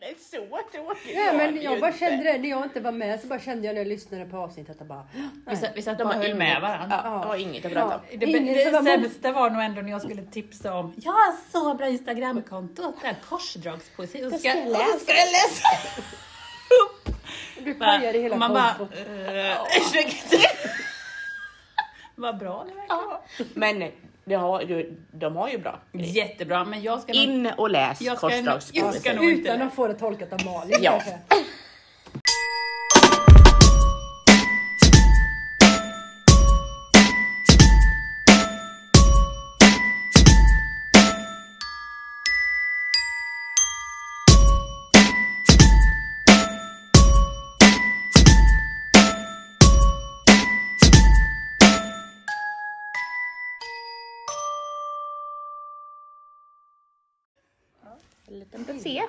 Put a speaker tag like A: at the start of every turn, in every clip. A: Nej, så tråkigt
B: Nej,
A: var
B: men
A: det
B: jag
A: ju
B: bara
A: inte.
B: kände det när jag inte var med så bara kände jag när jag lyssnade på avsnittet att bara... "Ah,
C: Vi satt, vi satt
A: De
C: bara
A: var ju
C: huvudet.
A: med varandra.
B: Ja.
A: Ja. Det var inget att prata om.
B: Ja.
D: Det,
B: Ingen
D: det,
B: som var mot-
D: sämsta var nog ändå när jag skulle tipsa om, jag har så bra Instagramkonto, där korsdragspoesi. Och så ska,
B: Jag ska
D: och så ska jag läsa upp.
B: Du pajade hela
D: och man bara,
B: kontot.
D: eh, vad bra det verkar vara.
A: Men eh, det har ju, de har ju bra.
D: Jättebra, men jag ska nog-
A: In och läs
D: Jag ska- jag ska
A: korsdragspoesi.
D: nog- inte
B: Utan
D: det.
B: att få det tolkat av Malin
A: Ja.
B: kanske.
A: En liten buffé.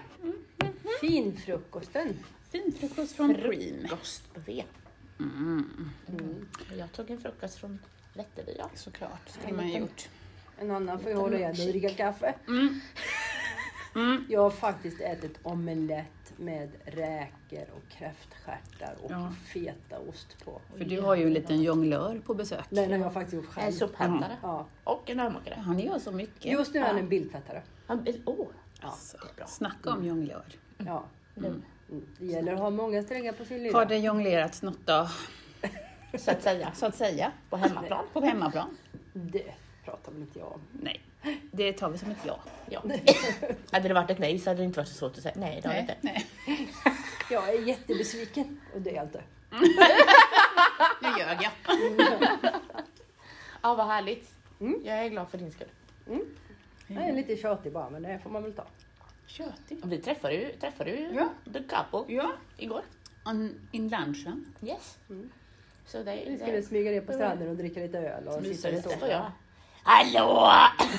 B: Finfrukosten.
D: Fin frukost från Preem.
A: Frukostbuffé. Mm. Jag tog en frukost från Vätterby. ja.
D: Såklart, skulle man ju gjort.
B: En annan får ju hålla igen och dricka kaffe.
D: Mm.
B: Jag har faktiskt ätit omelett med räkor och kräftstjärtar och
D: Ja.
B: fetaost på.
D: För du har ju en liten jonglör på besök.
B: Den har jag faktiskt gjort själv.
A: En sopphandlare
B: Ja.
A: Mm. och en ölmakare.
D: Han gör så mycket.
B: Just nu är han en bildtvättare.
A: Han- Åh, ja,
D: Så,
A: det är bra.
D: Snacka om jonglör.
B: Ja.
A: Mm.
B: Mm. Det gäller att ha många strängar på sin
D: Har
B: lyra.
D: det jonglerats något då,
A: Så att säga.
D: så att säga?
A: På hemmaplan.
D: På hemmaplan?
B: Det pratar väl inte jag om.
D: Nej, det tar vi som ett ja.
A: Ja. hade det varit ett nej så hade det inte varit så svårt att säga nej. Det har det inte.
D: nej.
B: Jag är jättebesviken och det är jag inte.
D: Nu ljög jag.
A: Ja, vad härligt.
B: Mm.
A: Jag är glad för din skull.
B: Jag är lite tjatig bara men det får man väl ta.
D: Tjötigt.
A: Vi träffade ju, träffade ju
D: Ja.
A: the couple
D: Ja,
A: igår.
D: on, in lunchen.
A: Yes. Så det,
B: Vi
A: det,
B: skulle smyga ner på stranden och dricka lite öl och
A: mysa
B: sitta i
A: lite. Och
B: soffan.
A: jag. Hallå!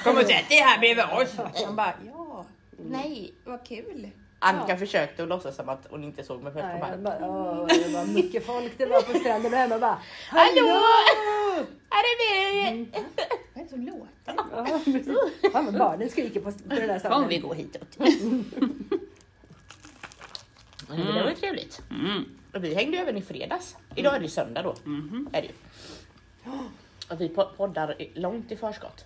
D: Kom och sätt dig här bredvid oss. Han bara, ja,
A: Nej.
D: vad kul.
A: Anka försökte att låtsas som att hon inte såg mig först.
B: Nej,
A: Hon
B: jag
A: bara,
B: bara, åh, det var mycket folk det var på stranden och hemma bara
A: Hallå! Är det vi?
D: Vad är det som låter?
B: Ja, precis. Fan vad barnen skriker på, på den där
D: Kom vi
B: stranden.
D: går hitåt.
A: Men Det var ju trevligt.
D: Mm.
A: Och vi hängde över i fredags. Idag är det ju söndag då. Är det ju. Och vi po- poddar i- långt i förskott.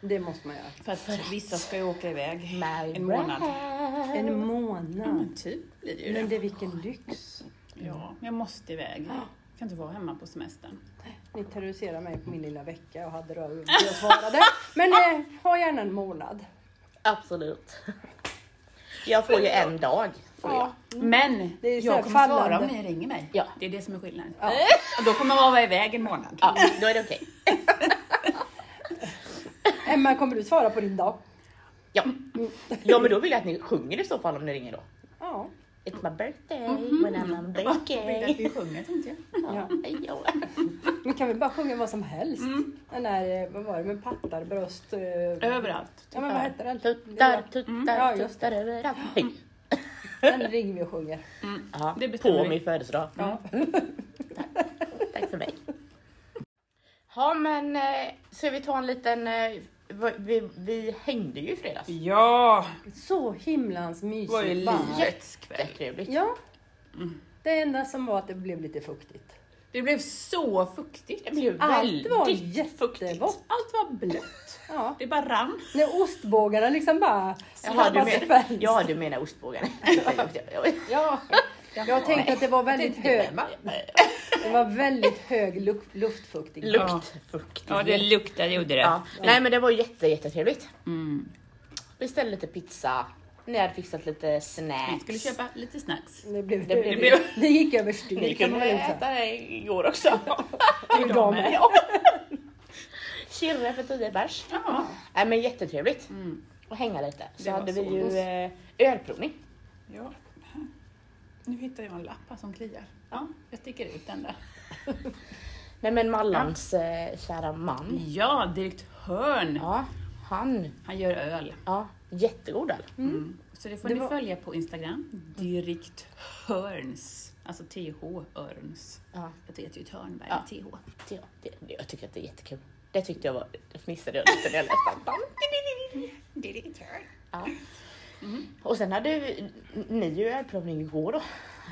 B: Det måste man göra.
D: För att vissa ska ju åka iväg
A: My
D: en månad.
A: bride.
B: En månad.
D: Men typ blir det ju
B: Men
D: det.
B: det är vilken lyx.
D: Ja, jag måste iväg. Jag kan inte vara hemma på semestern.
B: Ni terroriserade mig på min lilla vecka och hade rör jag svarade. Men eh, ha gärna en månad.
A: Absolut. Jag får ju en dag. Får jag.
D: Mm. Men
B: Det är så här
D: jag kommer svara om
B: fallande.
D: ni ringer mig.
A: Ja.
D: Det är det som är skillnaden.
B: Ja.
D: Och då får man vara iväg en månad.
A: Ja, då är det okej.
B: Emma, kommer du svara på din dag?
A: Ja. ja, men då vill jag att ni sjunger i så fall om ni ringer då.
B: Ja.
A: It's my birthday
D: Mhm.
A: when I'm on vacay.
D: Vi sjunger tänkte jag.
A: Ja. ja.
B: Men kan vi bara sjunga vad som helst? Den där, eh, vad var det, med pattar, bröst... eh,
D: Överallt.
B: Ja men vad hette den?
D: Mm.
A: Tuttar,
B: Ja,
A: tuttar,
B: just
A: tuttar överallt. Hej.
B: Den ringer vi och sjunger.
A: Ja,
D: Det bestämmer
A: på
D: vi.
A: min födelsedag.
D: Ja.
A: Tack för mig. Ja, men eh, ska vi ta en liten... eh, Vi, vi, vi hängde ju i fredags.
D: Ja,
B: Så himlans
D: det var ju
B: mysigt band.
D: livets kväll.
A: Jättetrevligt.
B: Ja. Det enda som var att det blev lite fuktigt.
D: Det blev så fuktigt.
A: Det blev
B: Allt var
A: väldigt fuktigt.
B: jättevått.
D: Allt var blött.
B: Ja.
D: Det bara rann.
B: När ostbågarna liksom bara...
A: Jaha, du
B: tappade
A: menar,
B: spänst.
A: ja, du menar ostbågarna.
B: Ja. Jag tänkte att det var väldigt hög, det var väldigt hög luft, luftfuktighet.
A: Luktfuktighet.
D: luktade gjorde det. Mm.
A: Ja. Nej men det var jätte, jättetrevligt. Beställde lite pizza, ni hade fixat lite
D: Vi
A: snacks.
D: skulle köpa lite snacks.
B: Det, blev, det,
A: Det blev-
B: blev- det gick
A: Ni
B: överstyr kan man
A: kunde
B: väl inte
A: äta det igår också.
B: säga. Jag med.
A: Ja. Kirre för 10 bärs.
D: Ja.
A: Nej men jättetrevligt.
D: Mm.
A: Och hänga lite. Så
D: Det var
A: hade vi
D: så
A: ju
D: gott.
A: eh, ölprovning.
D: ja. Nu hittar jag en lapp här som kliar. Ja, jag sticker ut den där.
A: Nej men Mallans eh, kära man.
D: Ja, direktören.
A: Ja, han.
D: Han gör öl. Mm.
A: Ja, jättegod öl.
D: Så det får
B: Det
D: ni
B: var-
D: följa på Instagram. Direktörns. Alltså TH Örns.
A: Ja.
D: Jag vet ju Törnberg
A: Ja.
D: TH.
A: Ja, det, det, jag tycker att det är jättekul. Det
D: Mm.
A: tyckte jag var, det fnissade jag lite när jag läste den.
D: Direktör.
A: Ja. Och sen hade vi- ni ju ölprovning igår då.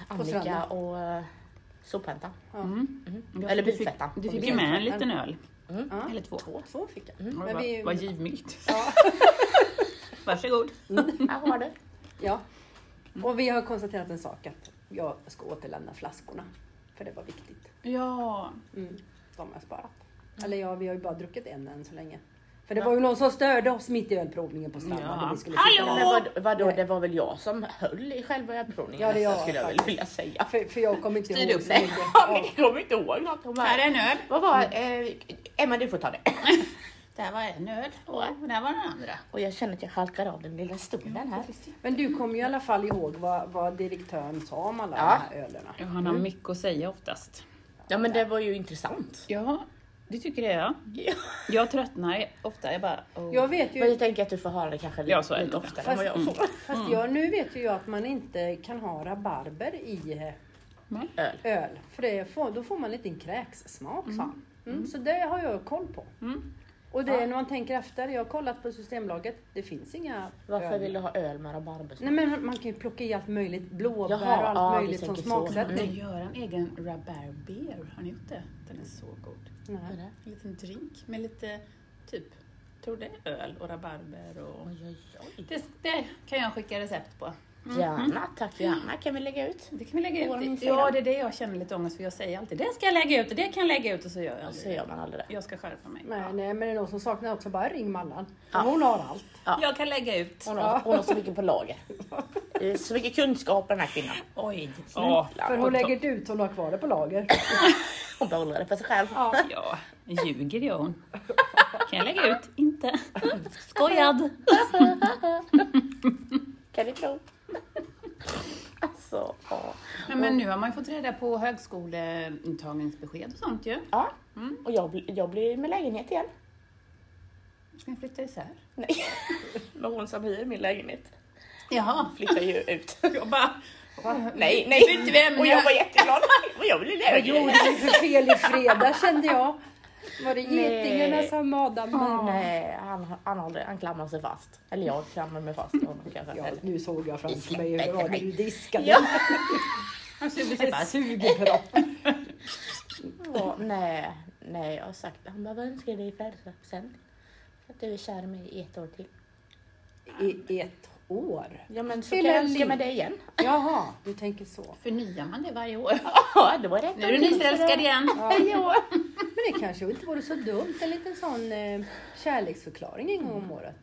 A: Annika
B: stranden.
A: och eh, sophämtaren.
D: Ja,
A: Eller
D: du Mm. fick-
A: biltvättan.
D: Du fick ju med en liten öl.
B: Ja.
D: Eller två. Mm.
B: Två, två fick jag.
D: Och
B: Men vi-
D: det var, var givmilt.
B: Ja.
D: Varsågod.
A: Här har du.
B: Ja. Och vi har konstaterat en sak att jag ska återlämna flaskorna. För det var viktigt.
D: Ja.
B: De har jag sparat. Eller ja, vi har ju bara druckit en än så länge. För det var ju någon som störde oss mitt i ölprovningen på stranden.
D: Ja.
B: när Vi skulle sitta
D: Hallå!
A: Men vad, vadå,
B: Nej.
A: det var väl jag som höll i själva ölprovningen
B: Ja, det
A: nästan,
B: var
A: skulle jag väl
B: faktiskt.
A: vilja säga.
B: där. För, för jag kommer inte
D: Styr
B: ihåg
D: upp
B: så
D: dig.
B: mycket.
A: Ja, men
B: Ja.
A: jag kommer inte ihåg något. Hon bara,
D: Här är en öl.
A: Vad var eh, Emma du får ta det.
D: Där var en öl och där var den andra.
A: Och jag känner att jag halkar av den lilla stolen här.
B: Men du kommer ju i alla fall ihåg vad, vad direktören sa om alla
A: Ja.
B: de här ölerna.
D: Ja, han har mycket att säga oftast.
A: Ja men det var ju intressant.
D: Ja, det tycker jag.
A: Ja.
D: Jag tröttnar ofta. Jag bara... Oh.
B: Jag vet ju,
A: Men jag tänker att du får höra det kanske
D: Ja,
A: lite,
D: så är det.
A: lite oftare än
B: Fast-
A: vad jag får.
B: fast jag, nu vet ju jag att man inte kan ha rabarber i eh,
D: Nej.
A: Öl.
B: öl. För det får, då får man en liten kräkssmak sa han. Mm, Så det har jag koll på.
D: Mm.
B: Och det är när man tänker efter, jag har kollat på Systembolaget, det finns inga
A: Varför
B: öl.
A: vill du ha öl med rabarbersmak?
B: Nej men man kan ju plocka i allt möjligt, blåbär
A: Jaha,
B: och allt
A: ja, du
B: möjligt som
A: tänker så.
B: smaksättning.
D: Man gör en egen rabarber beer. Har ni gjort det? Den är så god.
A: Vad
B: Nej.
A: är det?
D: En liten drink med lite, typ, tror det är öl och rabarber och...
A: Oj, oj, oj.
D: Det, det kan jag skicka recept på.
A: Gärna, tack gärna. Kan vi lägga ut?
D: Det kan vi lägga
A: Vår
D: ut. i-
A: Instagram.
D: Ja, det är det jag känner lite ångest för. Jag säger alltid det ska jag lägga ut och det kan jag lägga ut och så gör jag
A: Och så
D: aldrig
A: gör man aldrig det.
D: Jag ska skärpa mig.
B: Nej,
D: Ja.
B: nej, men det är någon som saknar också, bara ring Mallan. Hon har allt.
A: Ja.
D: Jag kan lägga ut.
A: Hon har, hon har så mycket på lager. Eh, Så mycket kunskap den här kvinnan.
D: Oj.
B: För
A: Hon,
B: hon lägger inte ut, hon har kvar det på lager.
A: hon behåller det för sig själv.
B: Ja.
D: Ja, ljuger jag hon? Kan jag lägga ut? Inte. Skojad.
A: Kan ni tro? Alltså, ja.
D: Nej, men nu har man ju fått reda på högskoleintagningsbesked och sånt ju.
A: ja. Och jag, bli- jag blir med lägenhet igen.
D: Ska ni flytta isär?
A: Nej. Men hon som hyr min lägenhet
D: Jaha.
A: flyttar ju ut.
D: Jag bara...
A: Nej, nej.
D: Bytte vi ämne?
A: Och jag var jätteglad. Och jag blev
B: Vad
A: lägenhet.
B: gjorde vi för fel i fredag kände jag? Var det getingarna
A: Nej.
B: som Adam
A: Nej, han, han, håller, han klamrar sig fast. Eller jag klamrar mig fast i honom kanske.
B: Ja,
A: Eller-
B: nu såg jag framför mig hur det var när du diskade.
A: Ja.
D: Han skulle
B: En
D: bara...
B: Sugepropp.
A: Ja, nej, nej, jag har sagt Han bara, vad önskar du dig i födelsedagspresent? Att du är kär i mig i ett år till.
B: I ett år?
A: Ja men så
B: Till
A: kan jag
B: en
A: önska
B: lin.
A: mig det igen.
B: Jaha, du tänker så.
D: Förnyar man det varje år?
A: Ja, då var det ett
D: Nu
A: år
D: är du
A: till.
D: nyförälskad igen.
B: Ja. Men det kanske inte vore så dumt, en liten sån eh, kärleksförklaring en gång om året.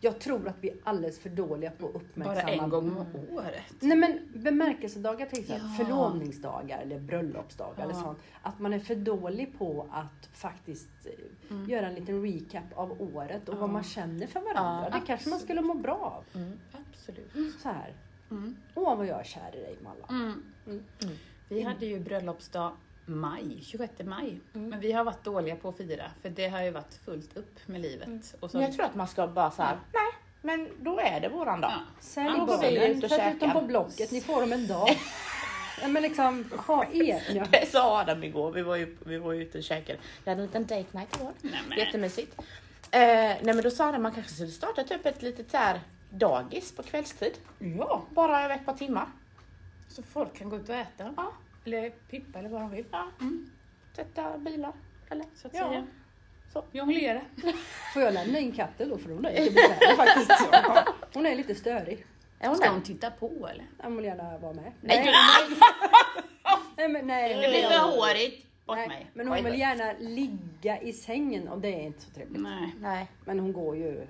B: Jag tror att vi är alldeles för dåliga på att uppmärksamma Mm.
D: Bara en gång om året.
B: Nej men bemärkelsedagar till exempel,
D: Ja.
B: förlovningsdagar eller bröllopsdagar eller
D: Ja.
B: sånt. Att man är för dålig på att faktiskt eh, göra en liten recap av året och vad man känner för varandra.
A: Ja,
B: det kanske man skulle må bra av.
D: Absolut.
B: Så här.
D: Mm.
B: Åh vad jag är kär i dig Malla.
D: Mm.
B: Mm.
D: Vi hade ju bröllopsdag maj, 26 maj.
A: Mm.
D: Men vi har varit dåliga på att fira för det har ju varit fullt upp med livet. Och så,
A: Mm. Men jag tror att man ska bara så här, nej, men då är det våran dag.
D: ja.
B: Sälj
D: Ja, då går
A: vi
B: barnen,
A: ut och
B: sätt ut dem
A: käkar.
B: på Blocket, ni får dem en dag. ja, men liksom, ha egna.
A: Det sa Adam igår, vi var ju, vi var ju ute och käkade. Vi hade en liten date night igår.
D: Nej, men.
A: Jättemysigt. Eh, nej men då sa Adam att man kanske skulle starta typ ett litet så här dagis på kvällstid.
D: ja,
A: Bara över ett par timmar.
D: så folk kan gå ut och äta.
A: Ja.
D: Eller pippa eller vad de vill.
A: Ja. Sätta bilar. Eller?
D: Så att
A: Ja.
D: säga.
A: Så.
D: Jag vill göra.
B: Får jag lämna in katten då för hon är lite besvärlig faktiskt. Hon är lite störig.
A: Är hon
D: Ska
A: där?
D: hon titta på eller?
B: Jag vill gärna vara med.
A: Nej.
B: nej. nej, men, nej.
A: Det blir för
D: hårigt. Bort
B: Nej,
D: mig.
B: men hon
A: Oj,
B: vill
A: oj.
B: gärna ligga i sängen och det är inte så trevligt.
D: Nej.
A: Nej,
B: Men hon går ju...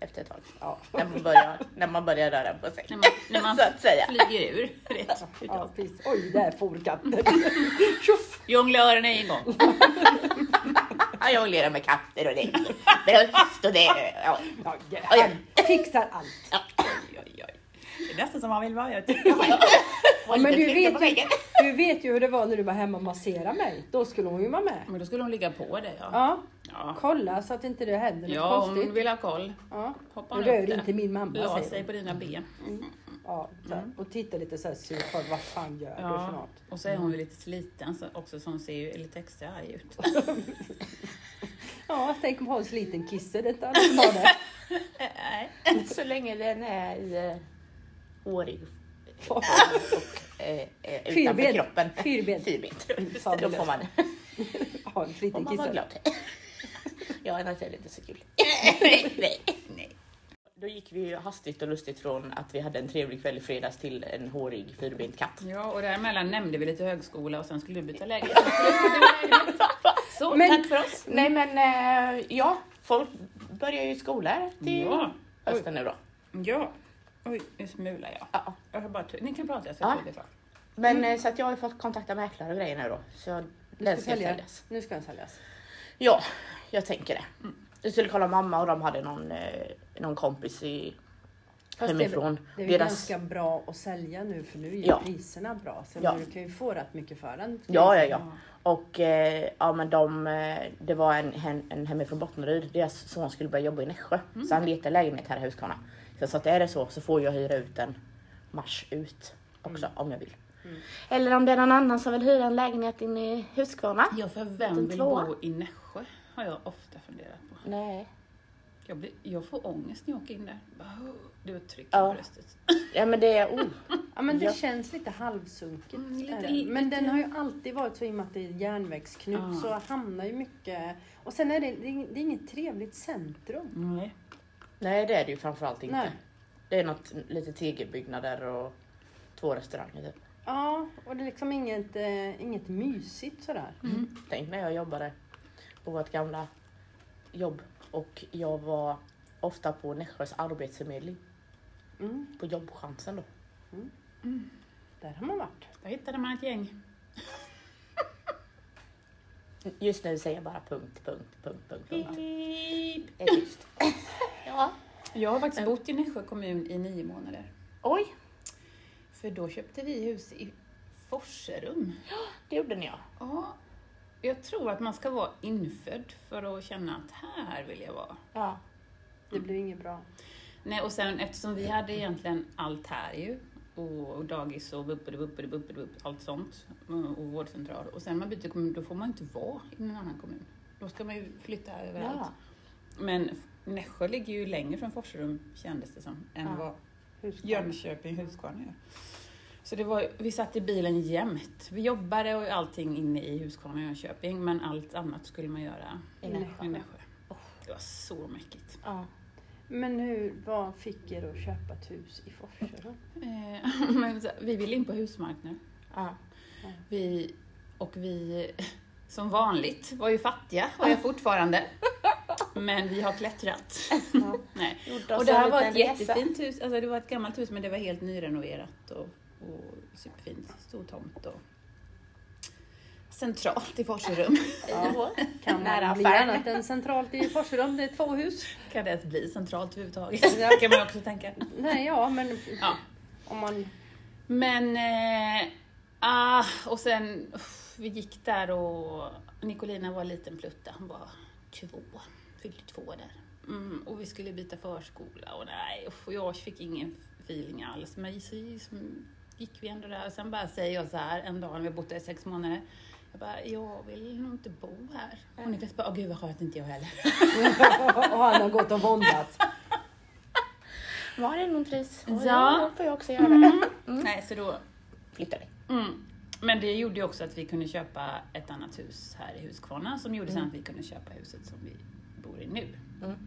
A: efter ett tag.
B: Ja,
A: När man börjar, när man börjar röra på sig.
D: När man, när man
A: Så att säga.
D: flyger ur. Rätt.
B: ja precis. Oj, där for katten. Tjoff!
D: Jongla öronen en gång.
A: Ja, Jag håller med katter och det. Men häst och det. Ja.
B: Ja,
A: Oj,
B: han fixar allt.
D: Oj, oj, oj. Det är nästan som man vill vara. Jag tycker.
A: Var
B: men
A: lite
B: du
A: tryck på
B: vet, ju,
A: väggen.
B: du vet ju hur det var när du var hemma och masserade mig. Då skulle hon ju vara med.
D: Men då skulle hon ligga på det ja.
B: Ja,
D: Ja,
B: kolla så att inte det händer något
D: ja hon
B: konstigt.
D: vill ha koll.
B: Ja.
D: Hoppa
B: Nu
D: nu upp
B: rör
D: där.
B: inte min mamma,
D: La
B: säger
D: sig
B: sig.
D: på dina ben.
B: Ja, så här.
A: Mm.
B: Och tittar lite så här surt på vad fan gör du för
D: Ja.
B: något?
D: Och så är hon ju lite sliten så också så hon ser ju lite extra arg ut.
B: Ja, tänk om hon har en sliten kisse. Det är inte alla som har det.
D: Nej.
A: Så länge den är i eh, hårig
B: Far.
A: och eh, eh, utanför
B: Fyrbent.
A: kroppen.
B: Fyrbent.
A: Fyrbent. Just det, Då
B: Fabulöst.
A: får man,
B: Ja, en
A: får man vara
B: fritidsgissare.
A: glad. Ja, annars är det inte så kul. Nej.
D: Nej.
A: Då gick vi ju hastigt och lustigt från att vi hade en trevlig kväll i fredags till en hårig fyrbent katt.
D: Ja, och däremellan nämnde vi lite högskola och sen skulle du byta lägenhet. Så det var lägenhet. Så,
B: Men-
D: tack för oss.
A: Nej men eh, ja, folk börjar ju skola till
D: Ja.
A: hösten nu då.
D: Ja. Oj, nu smular jag.
A: Ja.
D: jag har bara tu- Ni kan prata, jag ska
A: Ja.
D: tydligt
A: Men eh, så att jag har ju fått kontakta mäklare och grejer nu då. Så jag- den ska
B: sälja.
A: säljas.
B: Nu ska den säljas.
A: Ja, jag tänker det. Jag skulle kolla mamma och de hade någon, eh, någon kompis i,
B: Fast det, är-
A: hemifrån.
B: det är ju
A: Deras,
B: ganska bra att sälja nu för nu är ju
A: Ja.
B: priserna bra. Så
A: Ja.
B: du kan ju få rätt mycket för den.
A: ja, ja, ja. Och eh, ja, men de, eh, det var en, en, en hemifrån Bottneryd, deras son skulle börja jobba i Nässjö. Så han letar lägenhet här i Huskvarna. Så jag sa att är det så så får jag hyra ut den mars ut också om jag vill. Mm. Eller om det är någon annan som vill hyra en lägenhet inne i Huskvarna.
D: Ja, för vem
A: Den
D: vill
A: tvåa.
D: bo i Nässjö? Har jag ofta funderat på.
A: Nej.
D: Jag, blir, jag får ångest när jag åker in där. Bara, oh, Du har tryck i
A: Ja.
D: bröstet.
A: Ja men det är... Oh.
B: Ja men det
A: Ja.
B: känns lite halvsunkigt.
D: Mm,
B: är
D: lite-
B: det.
D: lite-
B: men den har ju alltid varit så i och med att det är järnvägsknut
D: Ja.
B: så hamnar ju mycket... Och sen är det, det är ing- det är inget trevligt centrum.
D: Nej.
A: Nej det är det ju framförallt inte.
B: Nej.
A: Det är något, lite tegelbyggnader och två restauranger typ.
B: Ja, och det är liksom inget, eh, inget mysigt sådär.
D: Mm.
A: Tänk när jag jobbade på vårt gamla jobb och jag var ofta på Nässjös arbetsförmedling
B: Mm,
A: på jobbchansen då.
B: där har man varit.
D: Där hittade man ett gäng.
A: Just nu säger jag bara punkt, punkt, punkt, punkt. punkt.
D: Beep.
A: Det är tyst. ja.
D: Jag har faktiskt bott i Nässjö kommun i nio månader.
A: Oj,
D: För då köpte vi hus i Forserum.
A: det gjorde ni ja.
D: Ja, jag tror att man ska vara infödd för att känna att här vill jag vara.
A: Ja. Mm.
B: Det blev inget bra.
D: Nej, och sen eftersom vi hade egentligen allt här ju, och, och dagis och buppade, buppade, buppade, bupp, allt sånt, och- och vårdcentral. Och sen när man byter kommun, då får man inte vara i en annan kommun. Då ska man ju flytta överallt.
A: ja.
D: Men F- Nässjö ligger ju längre från Forserum, kändes det som, än
A: Ja.
D: vad
B: Husqvarna.
D: Jönköping, Huskvarna gör. Så det var, vi satt i bilen jämt. Vi jobbade och allting inne i Huskvarna och Jönköping, men allt annat skulle man göra
A: I
B: Nej.
A: Nässjö.
D: i Nässjö. Det var så mäckigt.
A: Ja.
B: Men hur, vad fick er att köpa ett hus i Forserum?
D: Eh, men så- vi vill in på husmarknaden.
A: Ja.
D: Vi, och vi, som vanligt, var ju fattiga och är fortfarande. Men vi har klättrat.
B: Ja.
D: Nej.
A: Gjorde
D: Och
A: oss
D: det här
A: en
D: var
A: liten
D: ett
A: resa.
D: jättefint hus, alltså det var ett gammalt hus men det var helt nyrenoverat och, och superfint. Stor tomt och centralt i Forserum.
A: Ja.
B: Kan man
A: Nära
B: bli
A: affären.
B: annat än centralt i Forserum? Det är två hus.
D: Kan det ens bli centralt överhuvudtaget? Det kan man också tänka.
B: Nej, ja, men
D: Ja.
B: om man...
D: Men, eh, ah, och sen, uff, vi gick där och Nicolina var en liten plutta, hon var två, fyllde två där. Mm, och vi skulle byta förskola och nej, uff, och jag fick ingen feeling alls. Men så liksom gick vi ändå där och sen bara säger jag så här en dag när vi bott där i sex månader, jag bara, jag vill nog inte bo här. Och Niklas bara, åh gud vad skönt inte jag heller.
B: och han har gått och våndats.
A: Var det någon tris?
D: Ja. Mm.
A: ja. Då får jag också göra.
D: Nej, så då
A: Flyttade.
D: Mm. Men det gjorde ju också att vi kunde köpa ett annat hus här i Huskvarna som gjorde sen att vi kunde köpa huset som vi bor i nu.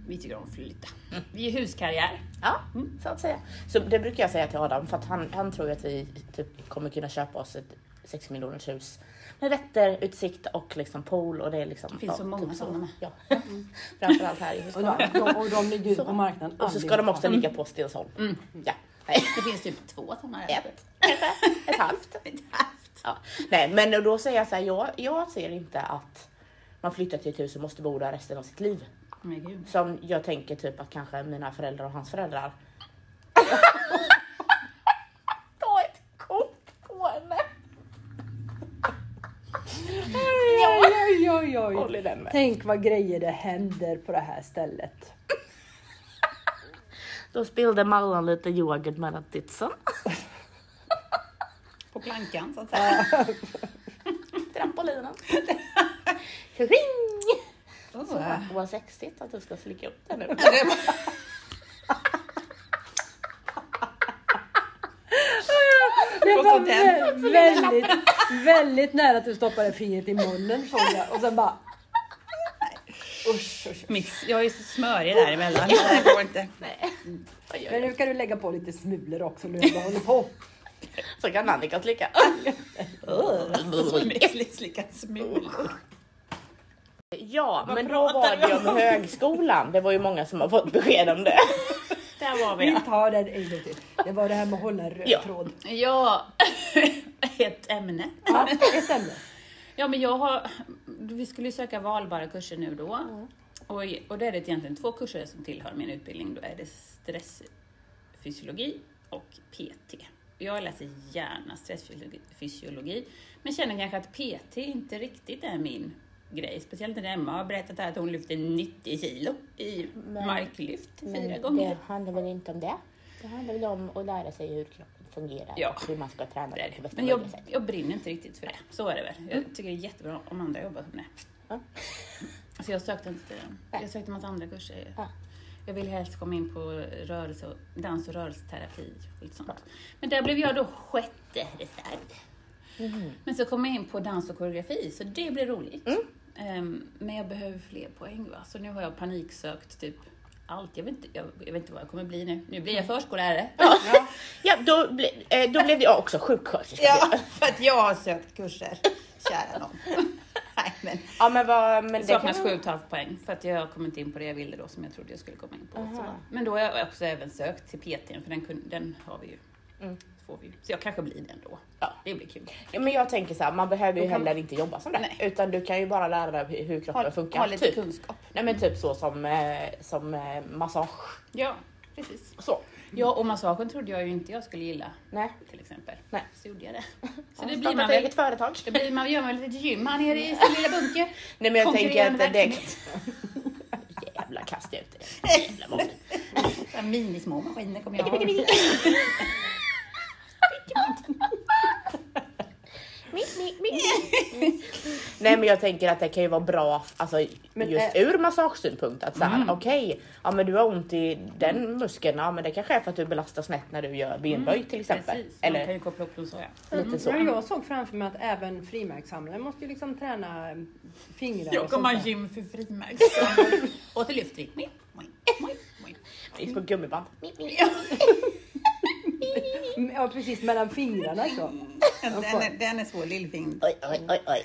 D: Vi tycker om att flytta. Vi är huskarriär.
A: Ja,
D: Mm.
A: så att säga. Så det brukar jag säga till Adam för att han, han tror ju att vi typ kommer kunna köpa oss ett 6 miljoners hus med vätter, utsikt och liksom pool och det är liksom.
D: Det finns så många sådana med.
A: Ja. Framförallt här i
B: Och
A: Huskvarna.
B: de, de, och de ligger ute på marknaden.
A: Och så ska de också ligga på Stensholm.
D: Mm.
A: Ja. Nej,
D: Det finns typ två sådana här.
A: ett, kanske ett halvt. Ja. Nej, men då säger jag så här, jag, jag ser inte att man flyttar till ett hus och måste bo där resten av sitt liv.
D: Men gud.
A: Som jag tänker typ att kanske mina föräldrar och hans föräldrar. Ta ett kort på henne.
B: Oj, oj, oj, oj.
A: Håll i den med.
B: Tänk vad grejer det händer på det här stället.
A: Då spillde Mallan lite yoghurt mellan titsen.
D: På plankan så att säga.
A: Trampolinen.
D: Åh.
A: Vad sexigt att du ska slicka upp den nu.
D: och så
B: var
D: den.
B: vä- väldigt, väldigt nära att du stoppade fingret i munnen såg jag. Och sen bara... Nej. Usch, usch.
D: Mix. Jag är så smörig däremellan. Det här går inte.
A: Oj,
B: Men
A: oj,
B: nu ska du lägga på lite smulor också nu när du håller på.
A: oj. Så kan Annika slicka.
D: Mix slickat smulor.
A: Ja,
D: Vad
A: men då var
D: pratar
A: det
D: vi
A: ju om högskolan. Det var ju många som har fått besked om det.
D: Där var
B: Vi
D: vi.
B: tar den en gång till. Det var det här med att hålla en röd
A: Ja.
B: tråd.
D: Ja, ett ämne.
B: Ja, ett ämne.
D: Ja, men jag har, vi skulle ju söka valbara kurser nu då. Och, i- och då är det egentligen två kurser som tillhör min utbildning. Då är det stressfysiologi och PT. Jag läser gärna stressfysiologi fysiologi, men känner kanske att PT inte riktigt är min grej. Speciellt när Emma har berättat här att hon lyfter 90 kilo i
A: Men-
D: marklyft fyra
A: Men
D: gånger.
A: det handlar väl inte om det? Det handlar väl om att lära sig hur kroppen fungerar
D: Ja.
A: och hur man ska träna
D: Det är
A: på liksom.
D: det.
A: bästa
D: Men jag,
A: möjliga sätt.
D: jag brinner inte riktigt för det. Så är det väl. Jag tycker det är jättebra om andra jobbar som det.
A: Ja.
D: Så jag sökte inte till den.
A: Nej.
D: Jag sökte en massa andra kurser.
A: Ja.
D: Jag ville helst komma in på rörelse, och- dans och rörelseterapi och lite sånt. Men där blev jag då sjätte reserv.
A: Mm.
D: Men så kom jag in på dans och koreografi, så det blir roligt. Ehm, men jag behöver fler poäng va, så nu har jag paniksökt typ allt. Jag vet inte, jag, jag vet inte vad jag kommer bli nu. Nu blir
A: Mm.
D: jag förskollärare.
A: Ja, ja då, ble, eh, då blev jag också sjuksköterska. Ja.
D: för att jag har sökt kurser. Kära nån. Nej, men
A: ja men vad... Men
D: det
A: det kan
D: saknas 7,5 poäng för att jag kom inte in på det jag ville då som jag trodde jag skulle komma in på. Så. Men då har jag också även sökt till PTn för den, kun, den har vi ju.
A: Mm.
D: Får vi ju. Så jag kanske blir den då.
A: Ja.
D: Det blir kul.
A: Ja, men jag tänker så här, man behöver ju
D: Då kan-
A: heller inte jobba som det.
D: Nej.
A: Utan du kan ju bara lära dig hur- hur kroppen funkar.
D: ha lite
A: typ.
D: kunskap.
A: Nej men typ så som, eh, som eh, massage.
D: Ja, precis.
A: Så.
D: Ja, och massagen trodde jag ju inte jag skulle gilla
A: Nej.
D: till exempel.
A: Nej.
D: Så gjorde jag det. Så
A: Ja,
D: det blir
A: starta
D: man
A: ett
D: väl.
A: eget företag.
D: Det blir man, gör man väl lite gym här nere i sin lilla bunker.
A: Nej men jag tänker
D: Konkurrerande
A: att det...
D: verksamhet.
A: Jävlar kastar jag ut det. Jävla mobbning.
D: Så här Minismå maskiner kommer jag ha.
A: Nej men jag tänker att det kan ju vara bra alltså,
B: Men,
A: just
B: eh,
A: ur massagesynpunkt att
D: Mm.
A: såhär okej, ja men du har ont i den muskeln, ja men det kanske är för att du belastar snett när du gör benböj till exempel.
D: Mm, Precis, man kan
A: Eller
D: ju Mm. koppla upp dem så ja.
A: lite så.
B: Men jag såg framför mig att även frimärkssamlaren måste ju liksom träna eh, fingrar
D: Jag
B: och
D: kommer
B: sånt
D: ha
B: där.
D: gym för frimärkssamlare. Och till lyftning.
A: Det är på gummiband.
B: Mm, Ja precis, mellan fingrarna så.
D: Den, den är svår, lillfingret.
A: Oj, oj, oj, oj.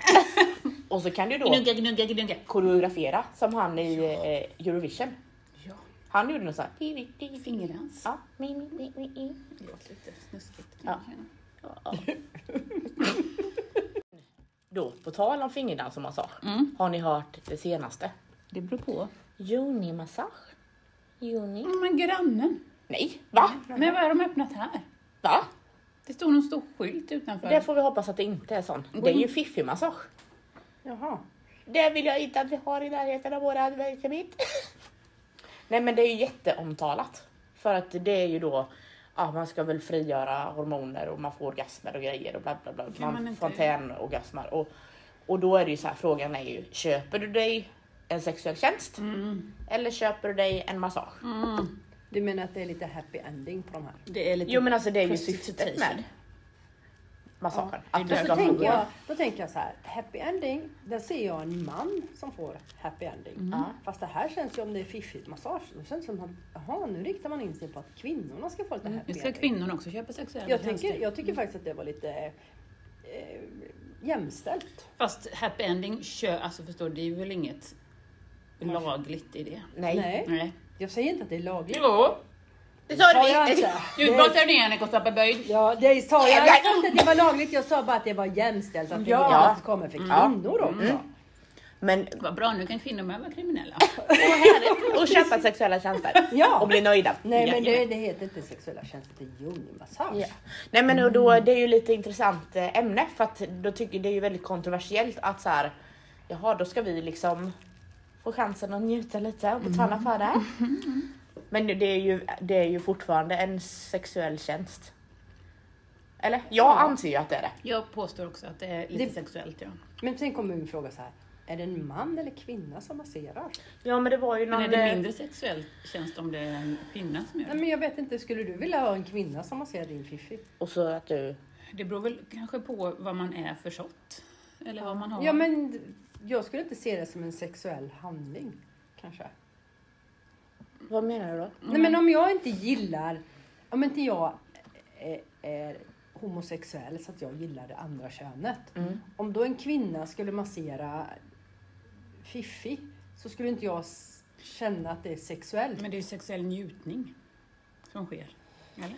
A: Och så kan du då
D: Gnugga, gnugga, gnugga.
A: koreografera som han i eh, Eurovision.
D: Ja,
A: Han gjorde något sånt.
D: fingerdans.
A: Ja. mi, mi, mi, mi, mi.
D: Det låter lite snuskigt.
A: Ja. Då, på tal om fingerdans och massage.
D: Mm.
A: Har ni hört det senaste?
D: Det beror på.
A: Juni-massage? Juni?
D: Mm, Men grannen.
A: Nej, va?
D: Men vad har de öppnat här?
A: Va?
D: Det stod någon stor skylt utanför.
A: Det får vi hoppas att det inte är sån. Det är ju fiffig massage.
B: Jaha.
A: Det vill jag inte att vi har i närheten av våra verksamhet. Nej men det är ju jätteomtalat. För att det är ju då, ja man ska väl frigöra hormoner och man får orgasmer och grejer och bla bla bla. Man,
D: man inte-
A: fontänorgasmer. Och, och då är det ju så här, frågan är ju, köper du dig en sexuell tjänst? Eller köper du dig en massage?
B: Du menar att det är lite happy ending på de här?
D: Det är lite...
A: Jo men alltså det är ju syftet
D: Prostitution.
A: med massagen.
B: Ja,
A: att
B: då,
A: du ska få
B: tänker jag, då tänker jag så här, happy ending, där ser jag en man som får happy ending. Fast det här känns ju om det är fiffigt massage, då känns det som att jaha, nu riktar man in sig på att kvinnorna ska få lite happy
D: Nu ska
B: ending.
D: kvinnorna också köpa sexuella
B: Jag tycker, jag tycker faktiskt att det var lite eh, jämställt.
D: Fast happy ending, kö, alltså förstår du, det är väl inget lagligt i det?
A: Nej.
B: Nej,
D: Nej.
B: jag säger inte att det är lagligt.
D: Jo!
A: Det
B: Sa jag inte.
D: Du pratar ner henne, Kostapa Böjd.
B: Ja, det sa jag. Jag sa inte att det var lagligt, jag sa bara att det var jämställt. Att det
D: Ja.
B: ja. kommer för
A: Ja.
B: kvinnor också.
A: Men
D: Vad bra, nu kan kvinnor med vara kriminella.
A: och köpa sexuella tjänster.
B: Ja.
A: Och bli nöjda.
B: Nej, men det,
D: Jajamän.
B: det heter inte sexuella tjänster, det är yoni-massage.
A: Ja. Nej men och då, det är ju lite intressant eh, ämne för att då tycker det är ju väldigt kontroversiellt att så här, jaha då ska vi liksom få chansen att njuta lite och betala för det. Men det är, ju, det är ju fortfarande en sexuell tjänst. Eller? Jag anser ju att det är det.
D: Jag påstår också att det är lite
B: Det-
D: sexuellt ja.
B: Men sen kommer min fråga så här. Är det en man eller kvinna som masserar?
A: Ja men det var ju
D: Men
A: någon...
D: är det
A: eh,
D: mindre sexuellt känns det om det är en kvinna som gör
B: Nej
D: det?
B: men jag vet inte, skulle du vilja ha en kvinna som masserar din fiffi?
A: Och så att du
D: Det beror väl kanske på vad man är för sort. Eller vad man har.
B: Ja, men d- jag skulle inte se det som en sexuell handling, kanske.
A: Vad menar du då?
B: Nej, men om jag inte gillar, om inte jag är, är homosexuell så att jag gillar det andra könet.
A: Mm.
B: Om då en kvinna skulle massera Fiffi så skulle inte jag s- känna att det är sexuellt.
D: Men det är ju sexuell njutning som sker. Eller?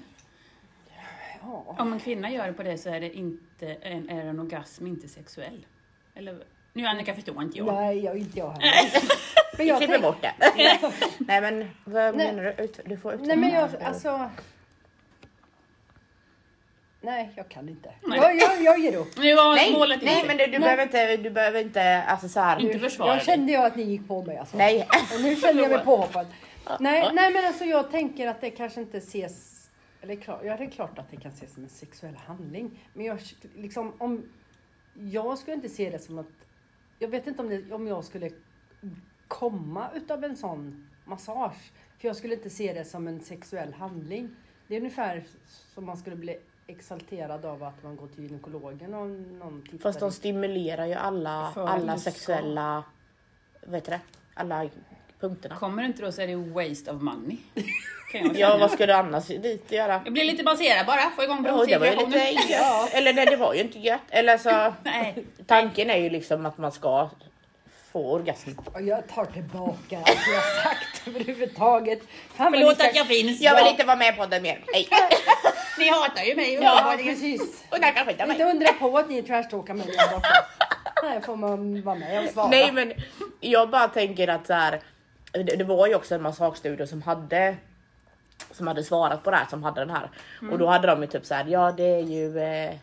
B: ja.
D: Om en kvinna gör det på det så är, det inte, en- är en orgasm inte sexuell. Eller, nu Annika förstår inte jag.
B: Nej, jag, inte jag heller. men
A: Vi
B: jag
A: klipper
B: tänk,
A: bort det. Nej men vad
B: Nej.
A: menar du? Ut, Mm. du får utveckla.
B: nej, men jag,
A: det.
B: alltså... Nej, jag kan inte.
D: Nej.
B: Jag, jag, jag ger upp.
D: Nu var
A: nej,
D: målet
A: nej
D: inte.
A: men du, du behöver inte, du behöver inte, alltså så här.
D: Inte
B: Nu-
D: försvara
B: Jag
D: dig.
B: kände jag att ni gick på mig alltså.
A: Nej.
B: Och nu känner jag mig påhoppad. Nej, nej men alltså jag tänker att det kanske inte ses, eller klart, ja det är klart att det kan ses som en sexuell handling. Men jag liksom om, jag skulle inte se det som att, jag vet inte om, det, om jag skulle komma utav en sån massage. För jag skulle inte se det som en sexuell handling. Det är ungefär som man skulle bli exalterad av att man går till gynekologen och någon tittar.
A: Fast de
B: in.
A: stimulerar ju alla,
D: För att
A: alla
D: du ska-
A: sexuella, vad heter det? Alla punkterna.
D: Kommer du inte då så är det waste of money. Kan jag,
A: Ja
D: känna.
A: vad ska du annars dit göra?
D: jag blir lite balanserad bara, få igång
A: Ja, det var ju
D: blodcirkulationen.
A: lite gött. Eller nej det var ju inte gött. Eller så,
D: Nej,
A: tanken är ju liksom att man ska få orgasm.
B: Och jag tar tillbaka allt jag har sagt överhuvudtaget. Fan, vad
D: förlåt
B: ni ska-
D: att jag finns.
A: Jag vill inte vara med på det mer. Nej.
D: Ni hatar ju mig.
B: Ja,
D: uppenbarligen.
B: precis.
A: Och där kan skita mig.
B: Inte undra på att ni trashtalkar mig där borta. Här får man vara med och svara.
A: Nej men jag bara tänker att så här, det, det var ju också en massagestudio som hade som hade svarat på det här som hade den här och då hade de ju typ så här ja det är ju eh,